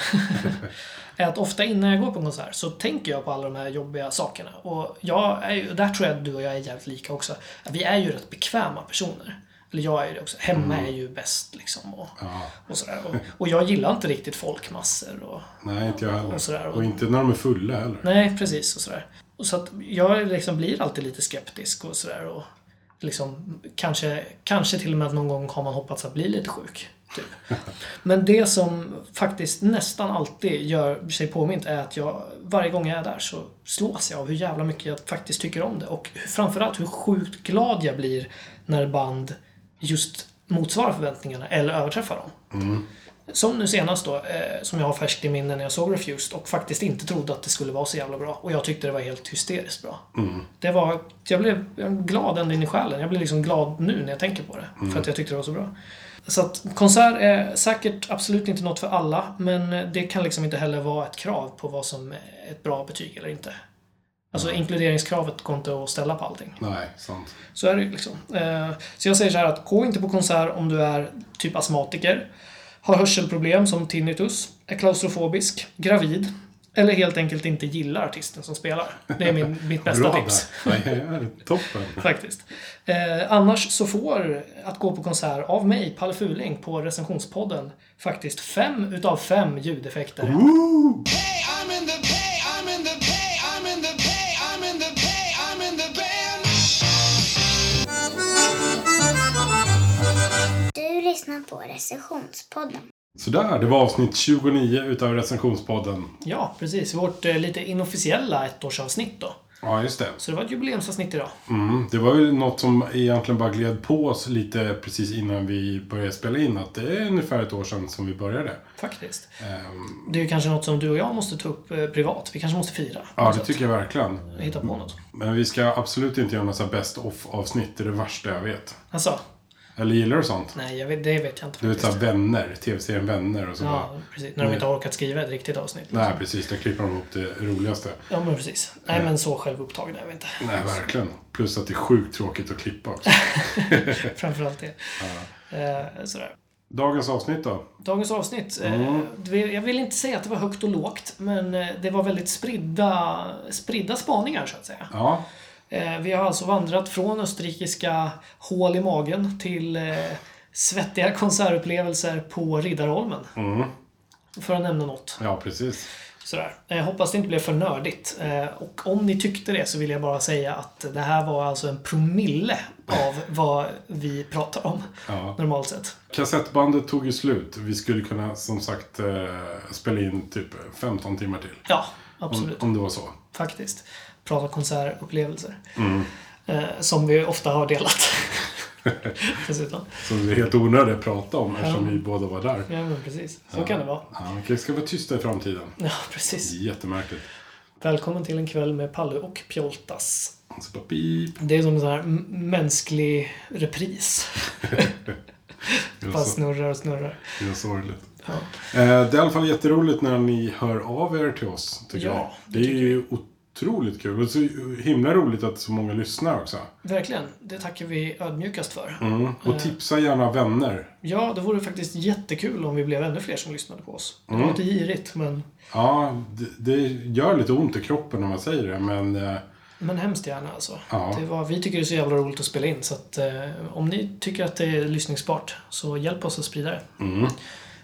Speaker 1: är att ofta innan jag går på en konsert så tänker jag på alla de här jobbiga sakerna. Och jag är ju, där tror jag att du och jag är jävligt lika också. Att Vi är ju rätt bekväma personer. Eller jag är ju det också. Hemma är ju bäst liksom. Och, och, sådär. Och, och jag gillar inte riktigt folkmassor. Och,
Speaker 3: Nej, inte jag heller.
Speaker 1: Och sådär.
Speaker 3: Och inte när de är fulla heller.
Speaker 1: Nej, precis och sådär. Och så att jag liksom blir alltid lite skeptisk och sådär och liksom kanske, kanske till och med att någon gång har man hoppats att bli lite sjuk. Typ. Men det som faktiskt nästan alltid gör sig påmint är att jag varje gång jag är där så slås jag av hur jävla mycket jag faktiskt tycker om det och hur- framförallt hur sjukt glad jag blir när band just motsvarar förväntningarna eller överträffar dem. Som nu senast då, eh, som jag har färskt i minne när jag såg Refused och faktiskt inte trodde att det skulle vara så jävla bra. Och jag tyckte det var helt hysteriskt bra. Det var, jag blev jag blev glad ända in i själen. Jag blir liksom glad nu när jag tänker på det. För att jag tyckte det var så bra. Så att konsert är säkert absolut inte något för alla. Men det kan liksom inte heller vara ett krav på vad som är ett bra betyg eller inte. Alltså inkluderingskravet går inte att ställa på allting.
Speaker 3: Nej, sant.
Speaker 1: Så är det ju liksom. Eh, Så jag säger så här att gå inte på konsert om du är typ astmatiker, har hörselproblem som tinnitus, är klaustrofobisk, gravid eller helt enkelt inte gillar artisten som spelar. Det är min, mitt bästa
Speaker 3: Bra
Speaker 1: tips.
Speaker 3: där. Nej, det är toppen.
Speaker 1: Faktiskt. Eh, annars så får att gå på konsert av mig, Palle Fuling, på recensionspodden faktiskt fem utav fem ljudeffekter.
Speaker 5: Du lyssnar på recensionspodden.
Speaker 3: Sådär, det var avsnitt 29 utav recensionspodden.
Speaker 1: Ja, precis. Vårt eh, lite inofficiella ettårsavsnitt då.
Speaker 3: Ja, just det.
Speaker 1: Så det var ett jubileumsavsnitt idag.
Speaker 3: Mm, det var ju något som egentligen bara gled på oss lite precis innan vi började spela in. Att det är ungefär ett år sedan som vi började.
Speaker 1: Faktiskt.
Speaker 3: Ehm,
Speaker 1: Det är ju kanske något som du och jag måste ta upp eh, privat. Vi kanske måste fira.
Speaker 3: ja, det tycker jag Mm. verkligen.
Speaker 1: Hitta på något.
Speaker 3: Men vi ska absolut inte göra några så här best off-avsnitt. Det är det värsta jag vet.
Speaker 1: Alltså,
Speaker 3: Eller gillar du sånt?
Speaker 1: nej, jag vet, det vet jag inte
Speaker 3: Du vet
Speaker 1: faktiskt.
Speaker 3: såhär vänner, tv-serien Vänner och så bara,
Speaker 1: Ja, precis. När de inte har orkat skriva ett riktigt avsnitt.
Speaker 3: Nej precis, där klipper de ihop det roligaste.
Speaker 1: Ja, men precis. Nej, men så självupptagna är vi inte.
Speaker 3: Nej, verkligen. Plus att det är sjukt tråkigt att klippa också.
Speaker 1: Framförallt det. Eh, sådär.
Speaker 3: Dagens avsnitt då?
Speaker 1: Dagens avsnitt. Eh,
Speaker 3: Mm.
Speaker 1: det vill- jag vill inte säga att det var högt och lågt, men eh, det var väldigt spridda, spridda spaningar så att säga.
Speaker 3: Ja,
Speaker 1: Eh, vi har alltså vandrat från österrikiska hål i magen till eh, svettiga konsertupplevelser på Riddarholmen.
Speaker 3: Mm.
Speaker 1: För att nämna något.
Speaker 3: ja precis.
Speaker 1: Sådär. Jag hoppas det inte blev för nördigt. Eh, Och om ni tyckte det så vill jag bara säga att det här var alltså en promille av vad vi pratar om
Speaker 3: Ja.
Speaker 1: normalt sett.
Speaker 3: Kassettbandet tog ju slut. Vi skulle kunna som sagt eh, spela in typ 15 timmar till.
Speaker 1: Ja,
Speaker 3: Om,
Speaker 1: absolut.
Speaker 3: om det var så.
Speaker 1: Faktiskt. Prata konsertupplevelser.
Speaker 3: Mm.
Speaker 1: Eh, Som vi ofta har delat. Dessutom.
Speaker 3: Som det är helt onödigt att prata om eftersom vi båda var där.
Speaker 1: Ja, men precis. Så kan det vara.
Speaker 3: Ja, okej, ska vara tysta i framtiden.
Speaker 1: Ja, precis.
Speaker 3: Jättemärkligt.
Speaker 1: Välkommen till en kväll med Palle och Pjoltas.
Speaker 3: Alltså bara beep.
Speaker 1: Det är som en sån här m- mänsklig repris. Bara snurrar och snurrar.
Speaker 3: Det är sorgligt.
Speaker 1: Ja.
Speaker 3: Eh, Det är i alla fall jätteroligt när ni hör av er till oss, tycker
Speaker 1: Ja,
Speaker 3: jag.
Speaker 1: det
Speaker 3: Det är ju otroligt kul. Och så himla roligt att så många lyssnar också.
Speaker 1: Verkligen. Det tackar vi ödmjukast för.
Speaker 3: Mm. Och tipsa gärna vänner.
Speaker 1: Ja, det vore faktiskt jättekul om vi blev ännu fler som lyssnade på oss. Det
Speaker 3: Mm.
Speaker 1: låter girigt, men,
Speaker 3: Ja, det, det gör lite ont i kroppen när man säger det, men eh,
Speaker 1: men hemskt gärna alltså.
Speaker 3: Ja.
Speaker 1: Det var, vi tycker det är så jävla roligt att spela in, så att, eh, om ni tycker att det är lyssningsbart, så hjälp oss att sprida det.
Speaker 3: Mm.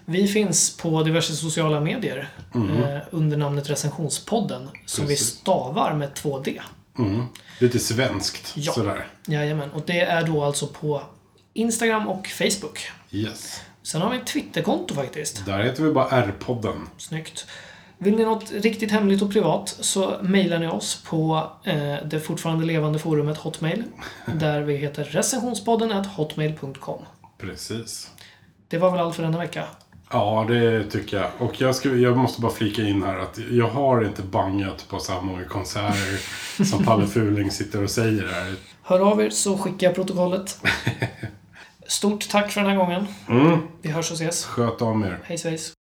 Speaker 1: Vi finns på diverse sociala medier eh, under namnet Recensionspodden, som vi
Speaker 3: Mm. Precis.
Speaker 1: stavar med 2D.
Speaker 3: mm, lite svenskt
Speaker 1: Ja.
Speaker 3: sådär.
Speaker 1: Jajamän, och det är då alltså på Instagram och Facebook.
Speaker 3: Yes.
Speaker 1: Sen har vi ett Twitterkonto faktiskt.
Speaker 3: Där heter vi bara R-podden.
Speaker 1: Snyggt. Vill ni något riktigt hemligt och privat så mejlar ni oss på eh, det fortfarande levande forumet Hotmail. Där vi heter recensionspodden at hotmail.com.
Speaker 3: Precis.
Speaker 1: Det var väl allt för denna vecka.
Speaker 3: Ja, det tycker jag. Och jag, ska, jag måste bara flika in här att jag har inte bangat på så här många konserter som Palle Fuling sitter och säger här.
Speaker 1: Hör av er så skickar jag protokollet. Stort tack för den här gången. Vi hörs och ses.
Speaker 3: Sköt om er.
Speaker 1: Hej svejs.